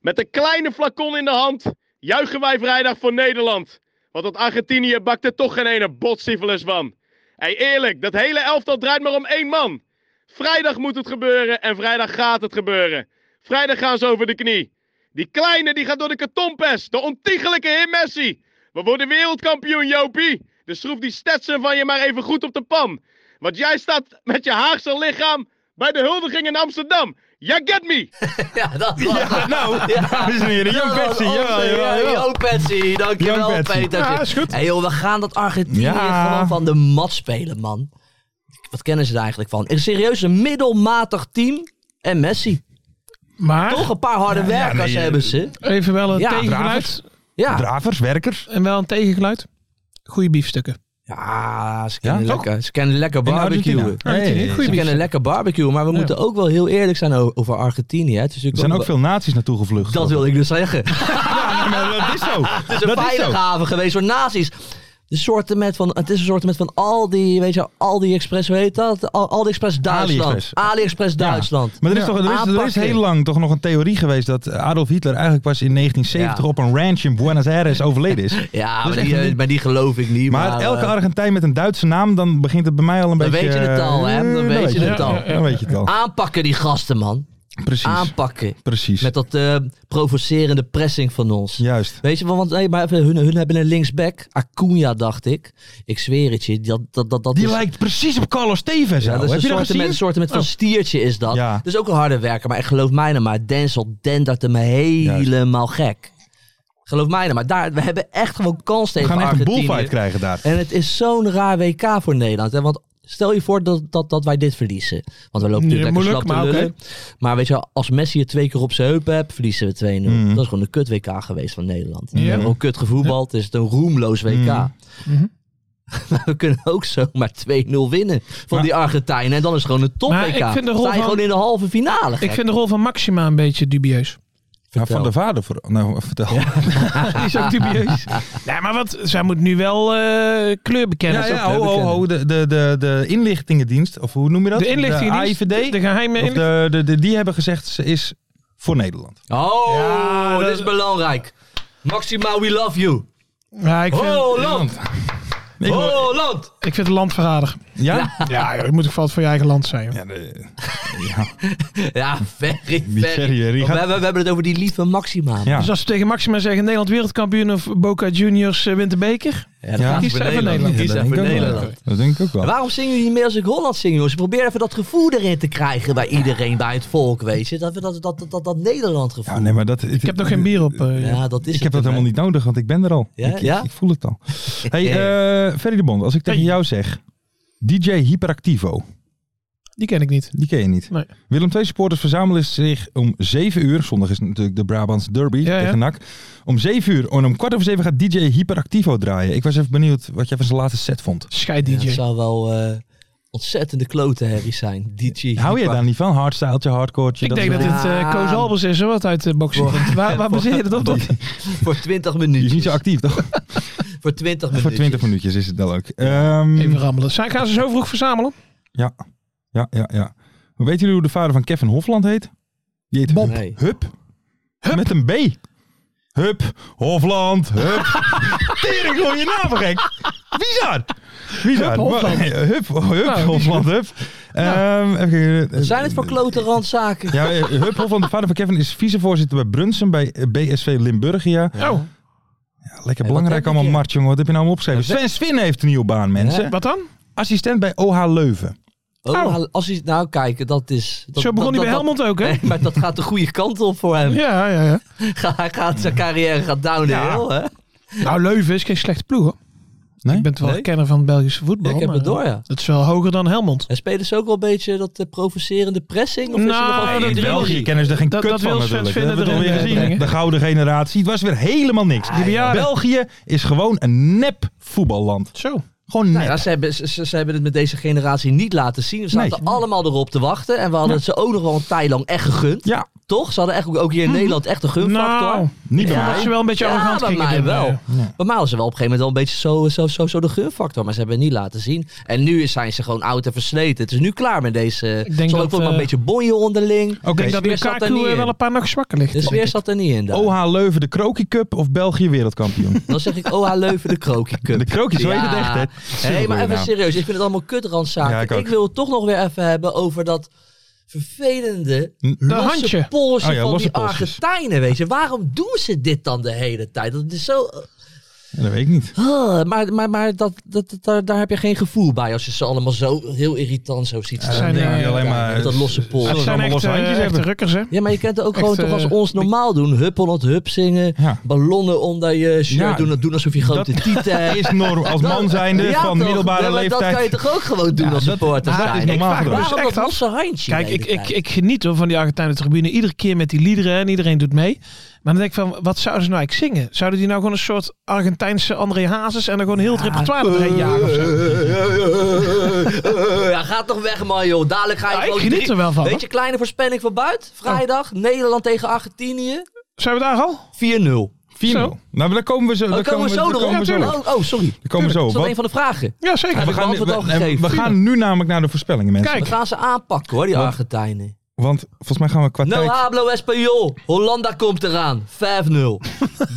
Met een kleine flacon in de hand juichen wij vrijdag voor Nederland. Want dat Argentinië bakt er toch geen ene botsiefelis van. Hey, eerlijk, dat hele elftal draait maar om één man. Vrijdag moet het gebeuren en vrijdag gaat het gebeuren. Vrijdag gaan ze over de knie. Die kleine die gaat door de kartonpest. De ontiegelijke heer Messi. We worden wereldkampioen, Jopie. Dus schroef die Stetson van je maar even goed op de pan. Want jij staat met je Haagse lichaam bij de huldiging in Amsterdam. You get me!
Ja, dat was
Ja, nou, dames en heren, Jan Betsy. Jawel, jawel, jawel.
Jan Patsy,
Jan
dankjewel
Patsy.
Peter.
Ja, is goed.
Hey joh, we gaan dat Argentinië
Ja.
gewoon van de mat spelen, man. Wat kennen ze er eigenlijk van? Een serieus een middelmatig team en Messi.
Maar
Toch een paar harde werkers
nee, eh,
hebben ze.
even wel een
Ja,
tegengeluid.
Ja,
Dravers, werkers.
En wel een tegengeluid. Goeie biefstukken.
ja ze
Ja,
kennen
toch?
lekker, ze kennen lekker
In Argentina.
barbecuen.
Hey,
Argentinië, goeie
Ze
biefstuk.
kennen lekker barbecuen, maar we moeten ook wel heel eerlijk zijn o- over Argentinië. hè. Het is
Er
natuurlijk
zijn ook veel nazi's naartoe gevlucht.
Dat wil ik dus zeggen.
Ja, nee, maar dat is zo.
Het is een
dat is zo.
veilige haven geweest voor nazi's. De soorten met van, het is een soort met van Aldi, weet je, Aldi Express, hoe heet dat? Al- Aldi Express Duitsland.
AliExpress.
AliExpress, Duitsland.
Maar er is, toch, er, is, er is
Aanpakken.
heel lang toch nog een theorie geweest dat Adolf Hitler eigenlijk pas in 1970
Ja.
op een ranch in Buenos Aires overleden is.
Ja,
Dat
maar
is
die,
echt
eh,
een-
maar die geloof ik niet. Maar,
Maar elke
eh,
Argentijn met een Duitse naam, dan begint het bij mij al een
Dan
beetje...
weet je het al, hè? Dan
eh,
weet je het al.
Dan weet je het al.
aanpakken die gasten, man.
Precies.
Aanpakken.
Precies.
Met dat eh, provocerende pressing van ons.
Juist.
Weet je wel, want hey, maar even, hun, hun hebben een linksback. Acuna, dacht ik. Ik zweer het je. Dat, dat, dat, dat
Die
is-
lijkt precies op Carlos Tevez.
Ja,
ouwe.
dat is
Heb
een soort
je Dus- dat gezien? Oh.
met, een soort met van stiertje is dat.
Ja.
Dus ook een harde werker, maar ik geloof mij nou maar, Denzel dendert hem helemaal gek. Geloof mij nou maar, daar, we hebben echt gewoon kans
We
tegen
gaan echt een
Argentinië.
bullfight krijgen daar.
En het is zo'n raar WK voor Nederland. Hè? Want stel je voor dat, dat, dat wij dit verliezen. Want we lopen
Ja,
natuurlijk lekker
moeilijk,
slap te
maar
lullen. Maar weet je wel, als Messi het twee keer op zijn heupen hebt, verliezen we 2-0. Dat is gewoon een kut WK geweest van Nederland. We hebben gewoon kut gevoetbald. Het is een roemloos WK.
Mhm.
Maar we kunnen ook zomaar 2-0 winnen van
Maar-
die Argentijnen. En dan is het gewoon een top WK.
Maar ik vind de rol
Sta je
van-
gewoon in de halve finale.
Ik
gek.
vind de rol van Maxima een beetje dubieus.
Ja,
Vertel.
van de vader vooral. Nou, vertel. Ja,
Die is ook dubieus. Nee, maar wat, zij moet nu wel eh, kleur bekennen.
ja,
toch?
oh,
ho, ho, ho, de, de, de, de inlichtingendienst, of hoe noem je dat?
De inlichtingendienst,
De AIVD.
de geheime
Of
inlichting.
de, de, de- die hebben gezegd, ze is voor Nederland.
Oh,
Ja,
dat
dat-
is belangrijk. Maxima, we love you.
Ja, ik, vind,
Holland!
Nee, maar-
Holland!
ik vind het landverrader.
ja?
Ja, joh, je moet toch vast voor je eigen land zijn. joh.
Ja, de- ja.
Ja, very,
Ferry, die
very. Want
gaat-
We, hebben, we hebben het over die lieve Maxima.
Ja.
Dus als we tegen Maxima zeggen Nederland wereldkampioen of Boca Juniors eh, wint de beker.
Ja,
Ja.
dat
Kies
is voor
even
Nederland.
Nederland.
Kies
dat
even
denk ik ook wel.
Nederland.
Dat denk ik ook wel.
En waarom zingen jullie niet meer als ik Holland zing, jongens? Probeer even dat gevoel erin te krijgen bij iedereen, bij het volk, weet je. Dat, we dat, dat, dat, dat, dat Nederland gevoel.
Ja, nee, maar dat,
Ik heb nog geen bier op. eh,
Ja, dat is
Ik heb
het
dat helemaal niet nodig, want ik ben er al.
Ja?
Ik, ik-
Ja?
ik voel het al. Hey, eh, Ferry de Bond, als ik tegen
Hey.
jou zeg... DJ Hyperactivo,
Die ken ik niet.
die ken je niet.
Nee.
Willem II supporters verzamelen zich om 7 uur. Zondag is natuurlijk de Brabants Derby
Ja, ja.
tegen NAC. Om 7 uur en om kwart over 7 gaat DJ Hyperactivo draaien. Ik was even benieuwd wat jij van zijn laatste set vond.
Scheid
Ja,
DJ.
het zou wel eh, ontzettende klote herrie zijn. DJ.
Hou je daar niet van? Hardstyletje, hardcoreje?
ik denk dat
wel-
dit eh Koos
Ja.
Albers is, hoor, wat uit de box komt. Waar, waar baseer je dat op? dan?
Voor 20
Je is niet zo
minuten.
actief, toch?
Voor 20
Voor
minuten.
20 minuutjes is het dan ook. Ehm,
Even rammelen. Zijn, gaan ze zo vroeg verzamelen?
ja, ja, ja, ja. Hoe weten jullie hoe de vader van Kevin Hofland heet? Die heet Bob.
Nee.
Hup. Met een B. Hup. Hofland. Hup. Tering, goeie naam, gek. Bizar. Bizar.
Hup, Hofland.
Maar- eh, Hup, oh, hup,
Nou,
Hofland, hup. Ehm, even kijken.
Wat zijn het voor klote randzaken?
Ja, eh, Hup Hofland, de vader van Kevin, is vicevoorzitter bij Brunsen bij eh, BSV Limburgia.
Oh,
Ja, lekker
wat heb
belangrijk
ik
allemaal,
hier?
Mart, jongen. Wat heb je nou allemaal opgeschreven? Sven Swin heeft een nieuwe baan, mensen.
wat dan?
Assistent bij OH Leuven.
Oh, als hij, nou kijk, dat is... Dat,
Zo begon
dat-
hij bij
dat-
Helmond ook, hè?
Nee, maar dat gaat de goede kant op voor hem.
Ja, ja, ja.
Hij gaat, zijn carrière gaat downhill,
Ja.
hè?
Nou, Leuven is geen slechte ploeg, hoor.
Nee?
Ik ben toch wel
Nee?
kenner van het Belgische voetbal.
Ja, ik heb
maar,
het door,
eh,
ja.
Dat is wel hoger dan Helmond.
En spelen ze ook wel een beetje dat eh, provocerende pressing? Of is
Nou,
er nog wel
nee,
die
in
driehoek?
België kennen ze er geen
Dat-
kut
dat
van
wil Sven
natuurlijk. Dat
Vinnen
hebben we
erin,
alweer
eh,
gezien.
brengen.
De gouden generatie. Het was weer helemaal niks.
Die bejaarden.
België is gewoon een nep voetballand.
Zo.
Gewoon nep.
Nou ja, ze, hebben, ze, ze- ze hebben het met deze generatie niet laten zien. We zaten
Nee.
allemaal erop te wachten. En we hadden het ze ook nog wel een tijd lang echt gegund.
ja,
Toch? Ze hadden echt ook, ook hier in Nederland echt een gunfactor.
Mhm. Nou,
niet bij
ik vond
mij.
dat ze wel een beetje
Ja,
arrogant
bij
gingen
mij
doen,
wel.
eh.
Bij mij was ze wel op een gegeven moment wel een beetje zo, zo, zo, zo de gunfactor. Maar ze hebben het niet laten zien. En nu zijn ze gewoon oud en versleten. Het is nu klaar met deze... Ik
denk
denk
dat,
ook wel
eh,
een beetje bonje onderling.
Oké,
dat
Ik
weer
denk dat
zat er
Lukaku
niet
eh,
in.
wel een paar nog zwakker ligt.
De sfeer Dus zat er niet in daar.
OH Leuven de Krokie Cup of België wereldkampioen?
Dan zeg ik OH Leuven de Krokie Cup.
De Krokie, zo heet het echt, hè?
Hé,
Super
maar
goeie
even
naam.
serieus. Ik vind het allemaal kutrandzaken.
Ja, ik
ik,
ook.
wil het toch nog weer even hebben over dat vervelende
De
losse
handje.
polsje
Oh ja,
van
losse
die
polsjes.
Argentijnen, weet je. Waarom doen ze dit dan de hele tijd? Dat is zo...
Ja, dat weet ik niet.
Ah, maar maar, maar dat, dat, dat- daar, daar heb je geen gevoel bij als je ze allemaal zo heel irritant zo ziet staan.
zijn,
Dan denk
eh,
ik alleen maar,
met dat losse pols.
zullen
Het
ze
zijn
allemaal
echt,
losse
eh,
handjes
echte
hebben?
rukkers, hè?
Ja, maar je kunt het ook gewoon
Echt,
toch als
eh,
ons normaal doen. Hup on het hup zingen.
Ja.
Ballonnen onder je shirt
Ja,
doen. Doen alsof je grote
dat-
tieten hebt.
Is norm, als man zijnde
Ja,
van
toch?
middelbare
Ja, maar Dat kan je
leeftijd.
toch ook gewoon doen
Ja,
als
dat-
supporter
dat is
zijn?
normaal
Ik vraag me
gedrag.
Waarom
Echt
dat
af.
losse handje?
Kijk,
de hele
ik, ik,
tijd?
ik geniet hoor van die Argentijnen tribune. Iedere keer met die liederen en iedereen doet mee. Maar dan denk ik van, wat zouden ze nou eigenlijk zingen? Zouden die nou gewoon een soort Argentijnse André Hazes en dan gewoon heel het repertoire doorheen jagen of
Eh,
zo?
Ja, ga toch weg man joh. Dadelijk ga je
Ja, ik
gewoon
geniet
drie-
er wel van,
Weet
hoor.
je, kleine voorspelling van buiten. Vrijdag, Nederland tegen Argentinië. 4-0.
Zijn we daar al?
4 Nou, maar daar komen we zo.
Dan
daar
komen we zo
daar
erop.
komen we zo
Oh,
op.
oh, sorry.
Daar komen we zo
Dat is
op.
dat een
Want
van de vragen.
Ja,
We
zeker.
Heb ik
gaan,
het antwoord al
we- we,
gegeven?
gaan nu namelijk naar de voorspellingen, mensen.
Kijk.
We gaan ze aanpakken hoor, die
Want-
Argentijnen.
Want volgens mij gaan we qua
No
tijd...
hablo español. Hollanda komt eraan. 5-0.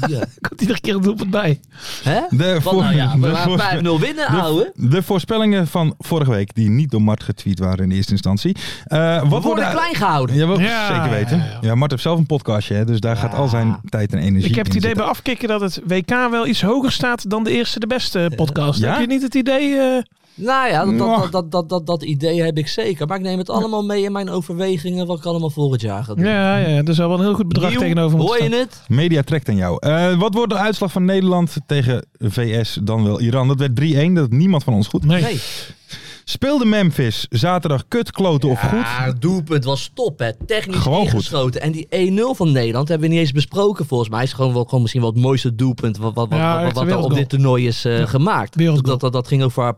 Ja.
Komt iedere keer een doelpunt bij.
Hè?
De
Wat nou ja,
voor-
we
de voor-
gaan 5-0 winnen,
de-
ouwe.
De voorspellingen van vorige week, die niet door Mart getweet waren in eerste instantie. Eh, wat
We worden klein gehouden.
Ja, wel,
Ja,
zeker weten.
ja,
Ja,
ja.
Mart heeft zelf een podcastje, hè, dus daar gaat al zijn tijd en energie
Ik heb het
in
idee bij
zitten.
afkicken dat het WK wel iets hoger staat dan de eerste de beste podcast.
Ja?
Heb je niet het idee? eh,
Nou ja, dat,
Nou.
dat, dat, dat, dat, dat idee heb ik zeker. Maar ik neem het allemaal mee in mijn overwegingen wat ik allemaal volgend jaar ga doen.
ja, ja, er zal wel een heel goed bedrag
Nieuw,
tegenover moeten
Hoor
staan.
je het?
Media trekt aan jou. Eh, wat wordt de uitslag van Nederland tegen VS, dan wel Iran? Dat werd 3-1, dat had niemand van ons goed.
Nee.
Nee.
Speelde Memphis zaterdag kut, kloten of goed?
Ja, het doelpunt was top, hè. Technisch
Gewoon goed.
ingeschoten. En die 1-0 van Nederland hebben we niet eens besproken, volgens mij. Is gewoon, wel, gewoon misschien wel het mooiste doelpunt wat, wat, wat,
Ja,
wat,
echt
wat
een
er op
wereldgoal.
dit toernooi is eh, gemaakt.
Wereldgoal.
Dat, dat, dat ging over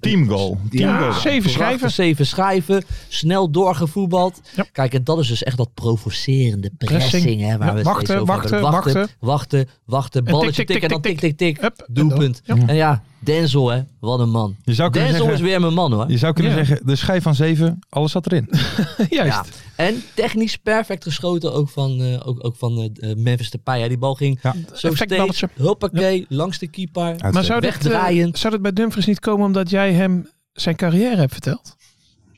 Teamgoal. Teamgoal.
zeven
Prachtig,
schijven.
Zeven schijven. Snel doorgevoetbald.
Ja.
Kijk, en dat is dus echt dat provocerende pressing.
Pressing.
hè, waar
Ja,
we steeds
wachten,
over hebben.
wachten,
wachten, wachten, wachten.
tik,
Balletje
tik,
tikken, dan
tik,
tik,
tik,
tik, tik.
Hup, en
Doelpunt.
dan.
En ja, Denzel, hè. Wat een man.
Je zou kunnen
Denzel is
zeggen,
weer mijn man, hoor.
je zou kunnen
Ja.
zeggen de schijf van 7, alles zat erin.
Juist.
Ja. En technisch perfect geschoten ook van, eh, ook, ook van eh, Memphis Depay. hè. Die bal ging
Ja.
zo
Effect
steeds,
balletje.
hoppakee, langs de keeper.
Maar zou dit, eh,
Wegdraaiend.
zou dit bij Dumfries niet komen omdat jij hem zijn carrière hebt verteld?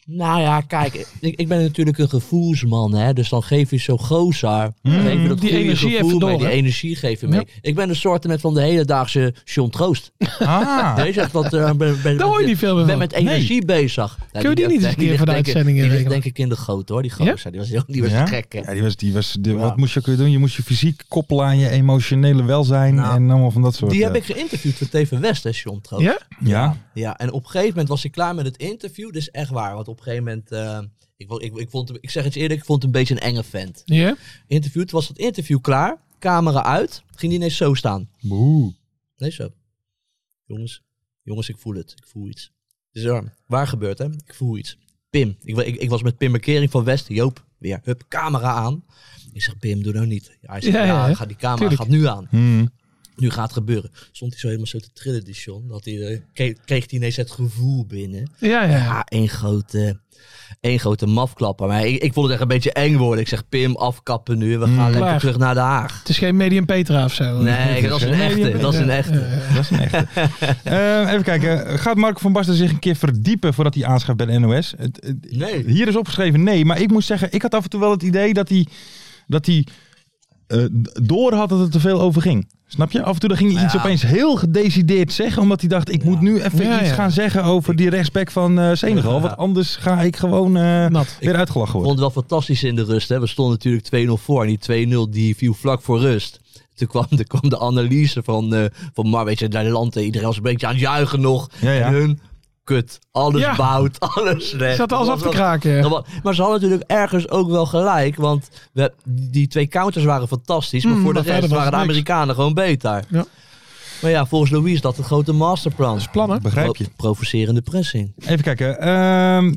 Nou ja, kijk, ik, ik ben natuurlijk een gevoelsman, hè. Dus dan geef je zo'n gozer, geef je dat
Mm, die
goede gevoel
energie even
mee,
door,
die
hè?
energie geef je mee. Ik ben een soort met van de hedendaagse John Troost.
Ah,
Weet je, echt wat, eh, ben, ben,
Daar hoor je niet veel meer
ben
van.
met energie bezig. Nou,
Kunnen we die niet eens een keer
ligt
voor de
denk ik-
uitzendingen
Die ligt
regelen?
denk ik in de goot, hoor, die gozer. Die was, heel- die was
Ja?
gek, hè.
ja, die was, die was, die-
Ja.
wat moest je ook weer doen? Je moest je fysiek koppelen aan je emotionele welzijn
Nou,
en allemaal van dat soort.
Die heb
eh,
ik geïnterviewd voor TV West, hè, John Troost.
Ja?
Ja,
Ja, en op een gegeven moment was ik klaar met het interview. Dus echt waar. Want op een gegeven moment. eh, ik, wo- ik, ik, vond, hem- ik zeg het je eerlijk, ik vond hem een beetje een enge vent.
Ja?
Interview, toen was het interview klaar. Camera uit. Ging die ineens zo staan.
boe.
Nee, zo. Jongens, jongens, ik voel het. Ik voel iets. Dus ja, waar gebeurt hè? Ik voel iets. Pim. Ik, wa- ik, ik was met Pim Markering van West. Joop, weer. Hup, camera aan. Ik zeg, Pim, doe nou niet. Ja, hij zegt, ja,
Ja, ja,
gaat die camera
tuurlijk.
gaat nu aan.
Hmm.
Nu gaat het gebeuren. Stond hij zo helemaal zo te trillen, die John. Dat hij, eh, kreeg, kreeg hij ineens het gevoel binnen.
Ja, ja.
Ja, één grote, één grote mafklapper. Maar ik, ik vond het echt een beetje eng worden. Ik zeg, Pim, afkappen nu. We gaan lekker
Mm. Klaar.
terug naar Den Haag.
Het is geen medium Petra of zo.
Nee, dat is een echte. Dat is een echte.
Dat is een echte. Eh, even kijken. Gaat Marco van Basten zich een keer verdiepen voordat hij aanschuift bij de NOS? Het- het-
Nee.
Hier is opgeschreven nee, maar ik moet zeggen, ik had af en toe wel het idee dat hij, dat hij eh, door had dat het te veel over ging. Snap je? Af en toe dan ging hij iets
Nou Ja.
opeens heel gedecideerd zeggen, omdat hij dacht, ik moet nu even
Ja,
iets
ja.
gaan zeggen over die rechtsback van eh Senegal,
Ja. Nou,
want anders ga ik gewoon eh,
Nat.
weer uitgelachen
Ik
worden.
vond het wel fantastisch in de rust. Hè. We stonden natuurlijk 2-0 voor. En die 2-0 die viel vlak voor rust. Toen kwam, toen kwam de analyse van, eh van Mar, weet je, daar landt iedereen was een beetje aan het juichen nog.
Ja, ja.
En hun, kut, alles
Ja.
bout, alles slecht.
Zat alles af te
Dat was-
kraken.
Dat was- Maar ze hadden natuurlijk ergens ook wel gelijk. Want we, die twee counters waren fantastisch. Maar
Mm,
voor de
maar verder
rest
was
waren de
niks.
Amerikanen gewoon beter.
Ja.
Maar ja, volgens Louis is dat een grote masterplan.
Plannen.
Begrijp je?
Pro- provocerende pressing.
Even kijken. ehm,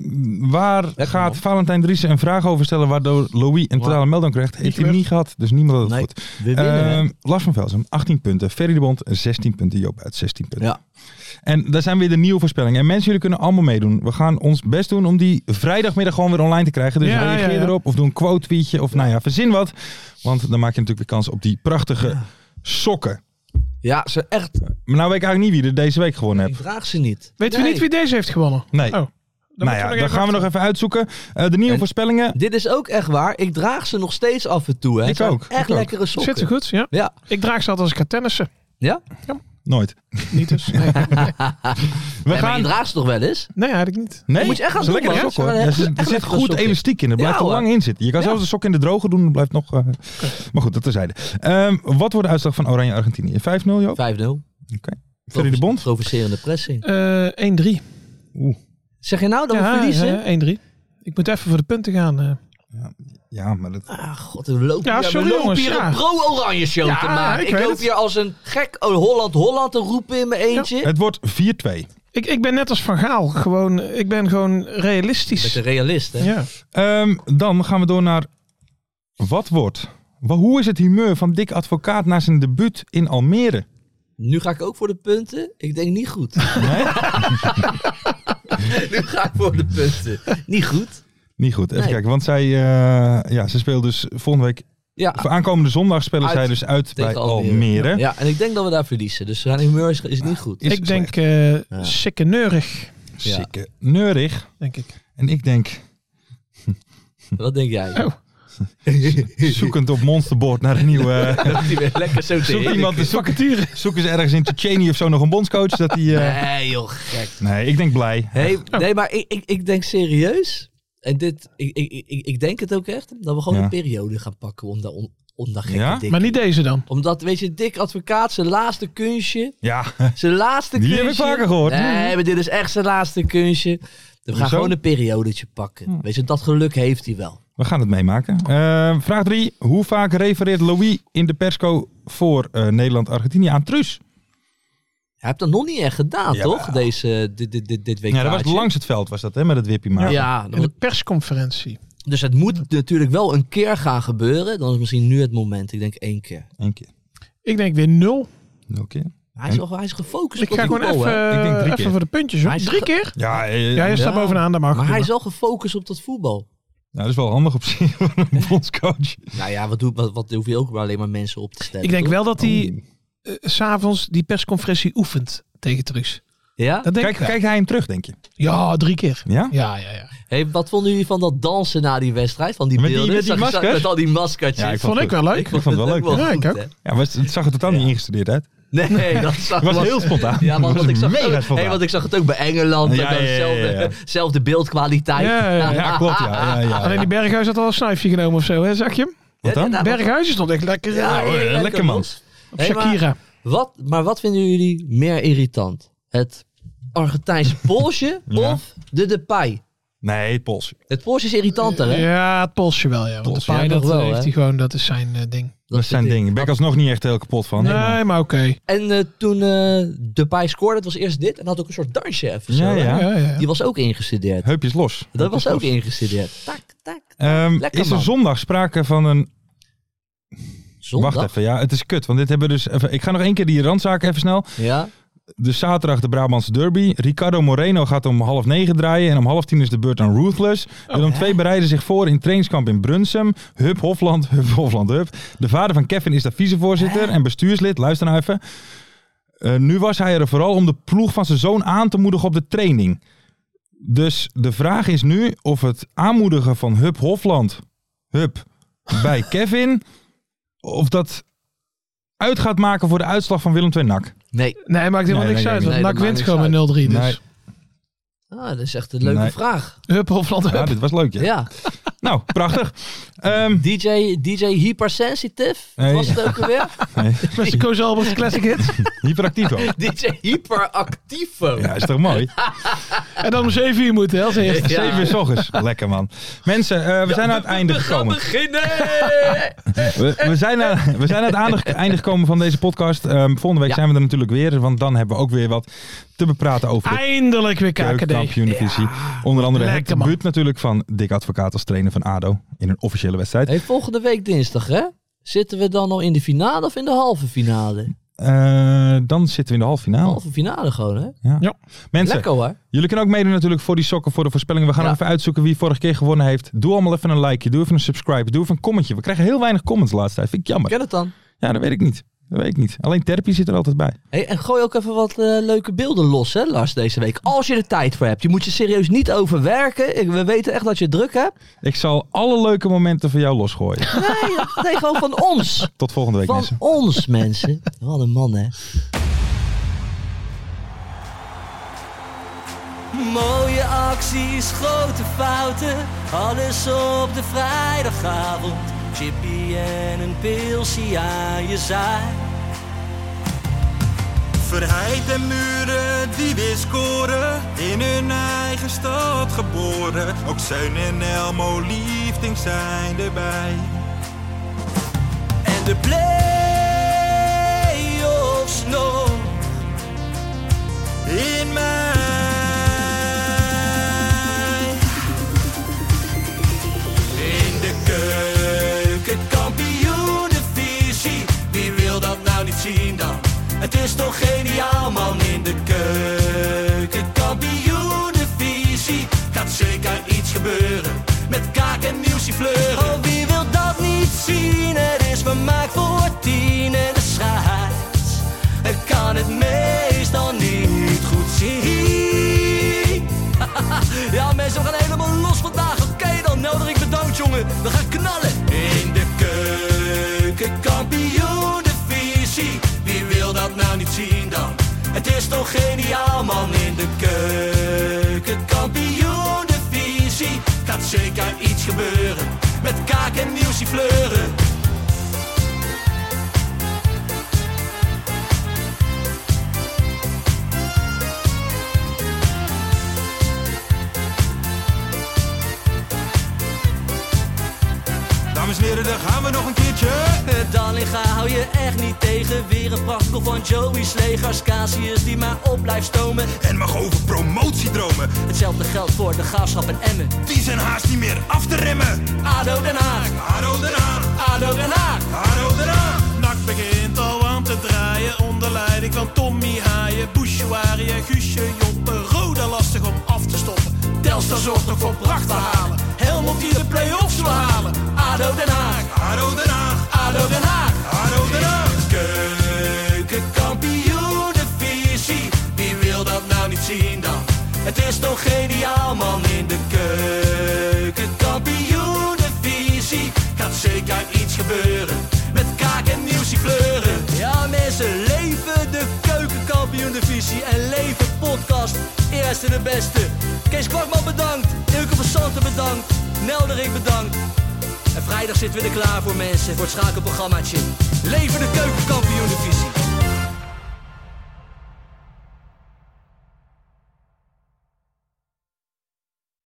waar gaat
man.
Valentijn Driessen een vraag over stellen waardoor Louis een totale melding krijgt? Heeft hij hem niet gehad, dus niemand had het
Nee,
goed.
we winnen. hè.
Ehm, Lars van Velsen, 18 punten. Ferry de Bond, 16 punten. Joop uit, 16 punten.
Ja.
En daar zijn weer de nieuwe voorspellingen. En mensen, jullie kunnen allemaal meedoen. We gaan ons best doen om die vrijdagmiddag gewoon weer online te krijgen. Dus
Ja,
reageer
ja, ja.
erop of doe een quote tweetje of nou ja, verzin wat. Want dan maak je natuurlijk weer kans op die prachtige sokken.
Ja, ze echt.
Maar nou weet ik eigenlijk niet wie er deze week gewonnen
Ik
heeft.
vraag ze niet.
Weten we
Nee.
niet wie deze heeft gewonnen?
Nee.
Oh,
nou ja,
moeten
dan gaan we nog even uitzoeken. Eh, de nieuwe
En-
voorspellingen.
Dit is ook echt waar. Ik draag ze nog steeds af en toe. Hè.
Ik
Het zijn
ook,
Echt
ik ook.
lekkere sokken.
Zit er goed, ja.
Ja.
Ik draag ze altijd als ik ga tennissen.
ja?
Nooit.
Niet dus. Nee,
We
Nee, maar
gaan...
je draagt ze toch wel eens?
nee eigenlijk niet.
Nee,
moet je echt gaan
ze
doen,
lekkere
man.
sokken, hoor.
Ze hebben
Ja, ze-
echt
er zit
lekkere
goed
sokken.
elastiek in. Er blijft
Ja,
er
hoor.
lang in zitten. Je kan
Ja.
zelfs de sok in de droge doen. Dat blijft nog... eh, Maar goed, dat terzijde. Ehm wat wordt de uitslag van Oranje-Argentinië? 5-0,
Oh.
Joop?
5-0.
Ferry de Bond?
Provocerende pressing.
Eh 1-3.
Zeg je nou dat we verliezen?
eh, 1-3. Ik moet even voor de punten gaan. eh.
Ja, maar dat...
Ah, god, we lopen,
Ja,
hier,
sorry,
we lopen
jongens,
hier
ja.
een pro-oranje show
Ja,
te maken.
ik
Ik,
weet
loop
het.
hier als een gek oh, Holland-Holland te roepen in mijn eentje.
Het wordt 4-2.
Ik, ik ben net als Van Gaal. Gewoon, ik ben gewoon
Met
realistisch.
een realist, hè?
Ja.
Ehm, dan gaan we door naar... Wat wordt... wa- Hoe is het humeur van Dick Advocaat na zijn debuut in Almere?
Nu ga ik ook voor de punten. Ik denk niet goed.
Nee?
nu ga ik voor de punten. Niet goed.
Niet goed. Even
Nee.
kijken. Want zij... eh, ja, ze speelt dus volgende week...
Ja,
Voor aankomende zondag spelen
Ah. Uit
zij dus uit bij
tegen
Almere.
Ja, en ik denk dat we daar verliezen. Dus zijn humeur is, is niet goed.
Is
Ik denk eh sikke neurig,
Ja.
Sikke neurig.
denk ik.
En ik denk...
Wat denk jij?
Oh.
Zoekend op monsterboard naar een nieuwe... eh,
Loopt hij weer lekker zo te
Zoek
heen.
iemand, zoek, zoek eens ergens in Tsjetsjenië of zo nog een bondscoach. Dat die, eh,
Nee, joh, gek.
Nee, ik denk blij.
Oh.
Hey, nee, maar ik, ik, ik denk serieus. En dit, ik, ik, ik, ik denk het ook echt. Dat we gewoon
Ja.
een periode gaan pakken om daar, om, om daar gekke
Ja?
dik-
Maar niet deze dan.
Omdat, weet je, dik advocaat, zijn laatste kunstje.
Ja,
Zijn laatste
Die heb
kunstje.
ik vaker gehoord.
Nee, maar dit is echt zijn laatste kunstje. We gaan
Hoezo? Hm.
gewoon een periodetje pakken. Weet je, dat geluk heeft hij wel.
we gaan het meemaken. Eh, vraag 3. Hoe vaak refereert Louis in de persco voor eh, Nederland-Argentinië aan Truus?
Hij hebt dat nog niet echt gedaan,
Ja.
toch? Deze, dit, dit, dit, dit week.
Ja, dat was langs het veld, was dat, hè, met het wippie maken.
Ja,
In de persconferentie.
dus het moet natuurlijk wel een keer gaan gebeuren. Dan is misschien nu het moment. Ik denk één keer.
Eén keer.
Ik denk weer nul.
Nul keer.
Hij is, wel, hij is gefocust
Ik
op
ga
die
gewoon
goal, hè?
Dus Ik denk
even,
drie
even
keer.
voor de puntjes. Hoor.
Hij is
Drie
ge-
keer?
Ja, eh,
Ja, je staat
Ja.
bovenaan, dat mag.
Maar hij
prima.
is wel gefocust op dat voetbal.
nou, dat is wel handig op zich voor een bondscoach.
Nou ja, wat, doe, wat, wat hoef je ook maar alleen maar mensen op te stellen.
Ik denk
toch?
wel dat hij eh, s s'avonds die persconferentie oefent tegen Truus.
Ja?
Dat denk
Kijk,
ik wel.
kijkt hij hem terug, denk je?
Ja, drie keer.
Ja?
Ja, ja, ja.
Hey, wat vonden jullie van dat dansen na die wedstrijd? Van die
Met die-
beelden?
met die
Zag je-
maskers?
Met al die maskertjes.
Ja, ik
Vond ik wel leuk.
Ik vond het wel leuk.
Ja, ik ook.
hè?
Ja, was, het zag er totaal niet ingestudeerd uit.
Nee, dat zag
Het was heel spontaan.
Ja, want, want
Het was
ik zag
mega
het ook,
spontaan.
hey, want ik zag het ook bij Engeland.
Ja,
dat dan
ja, ja, ja, ja.
zelfde- Zelfde beeldkwaliteit.
Ja, ja,
Ja, klopt. Ja, ja, ja, ja.
Alleen die Berghuis had al een snuifje genomen of zo, hè? zag je hem?
Wat dan?
Ja, dat-
Berghuis is nog echt lekker
Ja,
eh,
hoor,
ja,
lekker man.
klopt.
op
Hey, maar-
Shakira.
Wat, maar wat vinden jullie meer irritant? Het Argentijnse polsje
Ja.
of de Depay?
Nee, het polsje.
Het polsje is irritanter, hè?
Ja, het polsje wel, ja. Want
Polsje,
de paai,
ja,
dat
toch wel,
heeft
hè?
hij gewoon, dat is zijn eh, ding.
Dat, is zijn
vind ik.
ding. Ik ben ik alsnog niet echt heel kapot
Oh,
van.
Nee,
maar-
maar, oké.
En eh, toen eh Depay scoorde, het was eerst dit. En had ook een soort dansje even zo.
Ja,
hè?
ja.
Ja, ja.
Die was ook ingestudeerd.
Heupjes los.
Dat was
Heupjes
ook
los.
ingestudeerd. Tak, tak.
Ehm,
Lekker,
is er
man.
zondag sprake van een...
Zondag?
Wacht even, ja, het is kut. Want dit hebben we dus... Even, ik ga nog één keer die randzaak even snel.
Ja.
Dus zaterdag de Brabantse derby. Ricardo Moreno gaat om half negen draaien. En om half tien is de beurt aan Ruthless. Willem II bereiden zich voor in trainingskamp in Brunsum. Hup Hofland, Hup Hofland, Hup. De vader van Kevin is daar vicevoorzitter en bestuurslid. Luister nou even. Eh, nu was hij er vooral om de ploeg van zijn zoon aan te moedigen op de training. Dus de vraag is nu of het aanmoedigen van Hup Hofland, Hup, bij Kevin... of dat uit gaat maken voor de uitslag van Willem II NAC.
Nee.
Nee, maakt helemaal
Nee,
niks
nee,
uit.
nee,
Want
nee,
NAC
dat
wint
maakt
gewoon met 0-3.
niks
Dus
Nee.
Ah, dat is echt een leuke
Nee.
vraag.
hup Hofland, hup.
Ja, dit was leuk, ja.
Ja.
Nou, prachtig. Ehm,
DJ, DJ Hypersensitive.
Nee.
Was het ook alweer?
Beste Koos Albert Classic Hit.
hyperactief ook.
DJ Hyperactivo.
Ja, is toch mooi?
en dan om 7 uur moeten, hè, als eerste.
Ja.
Zeven uur s ochtends. Lekker man. Mensen, eh, we zijn aan het einde
gaan
gekomen.
beginnen!
We, we, zijn aan, we zijn aan het aange- einde gekomen van deze podcast. Ehm, volgende week
Ja.
zijn we er natuurlijk weer. Want dan hebben we ook weer wat te bepraten over de
Eindelijk weer KKD.
keukenkampioendivisie. Onder andere
Lekker,
het
man.
debuut natuurlijk van Dick Advocaat als trainer van ADO. In een officiële wedstrijd.
Hey, volgende week dinsdag, hè? Zitten we dan al in de finale of in de halve finale?
Eh, dan zitten we in de halve finale.
Halve finale gewoon, hè?
Mensen,
Oh, Lekker hoor.
Jullie kunnen ook meedoen natuurlijk voor die sokken, voor de voorspellingen. We gaan
Ja.
even uitzoeken wie vorige keer gewonnen heeft. Doe allemaal even een likeje, doe even een subscribe, doe even een commentje. We krijgen heel weinig comments de laatste tijd. Vind ik jammer.
Ken het dan.
Ja, dat weet ik niet. Dat weet ik niet. Alleen therapie zit er altijd bij.
Hey, en gooi ook even wat eh, leuke beelden los, hè, Lars, deze week. Als je er tijd voor hebt. Je moet je serieus niet overwerken. Ik- we weten echt dat je het druk hebt.
Ik zal alle leuke momenten van jou losgooien.
Nee, nee, gewoon van ons.
Tot volgende week
Van
mensen.
ons, mensen. Wat een man, hè?
Mooie acties, grote fouten, alles op de vrijdagavond. Chippy en een pilsie aan je zaai.
Verheid en muren die weer scoren, in hun eigen stad geboren. Ook Zeun en Elmo Liefding zijn erbij.
En de play-offs nog.
In mij.
In de keuken, kampioenenvisie. Wie wil dat nou niet zien dan? Het is toch geniaal man in de keuken, kampioenenvisie. Gaat zeker iets gebeuren met kaak en nieuwsie fleuren. Oh, wie wil dat niet zien? Het is vermaakt voor tien en de scheids. Het kan het meestal niet goed zien. Ja, mensen, we gaan helemaal los vandaag. Oké, dan nodig ik bedankt, jongen. We gaan knallen. In de keuken, kampioen, de visie. Wie wil dat nou niet zien dan? Het is toch geniaal, man. In de keuken, kampioen, de visie. Gaat zeker iets gebeuren. Met kaak en nieuwsie fleuren.
Dames en heren, daar gaan we nog een keertje. Het
Dallinga Eh, hou je echt niet tegen. Weer een prachtkel van Joey's legers. Casius die maar op blijft stomen.
En mag over promotie dromen.
Hetzelfde geldt voor de gaafschap en Emmen.
Die zijn haast niet meer af te remmen.
ADO Den Haag.
ADO Den Haag.
ADO Den Haag.
ADO Den Haag.
Nak begint al aan te draaien onder leiding van Tommy Haaien, Bouchouari en Guusje Joppen. Roda lastig om af te stoppen. Telstar zorgt nog voor pracht te halen. Helmond die de play-offs wil halen.
ADO Den Haag.
ADO Den Haag.
ADO Den Haag.
ADO Den Haag.
Keukenkampioenenvisie, wie wil dat nou niet zien dan? Het is toch geniaal man in de keukenkampioenenvisie. Gaat zeker iets gebeuren, met kaak en nieuwsie kleuren.
Ja mensen, leven de keukenkampioen divisie en leven podcast. Eerste de beste. Kees Kwakman bedankt, Ilke van Santen bedankt, Nelderik bedankt. En vrijdag zitten we er klaar voor mensen, voor het schakelprogrammaatje. Leven de keukenkampioen divisie.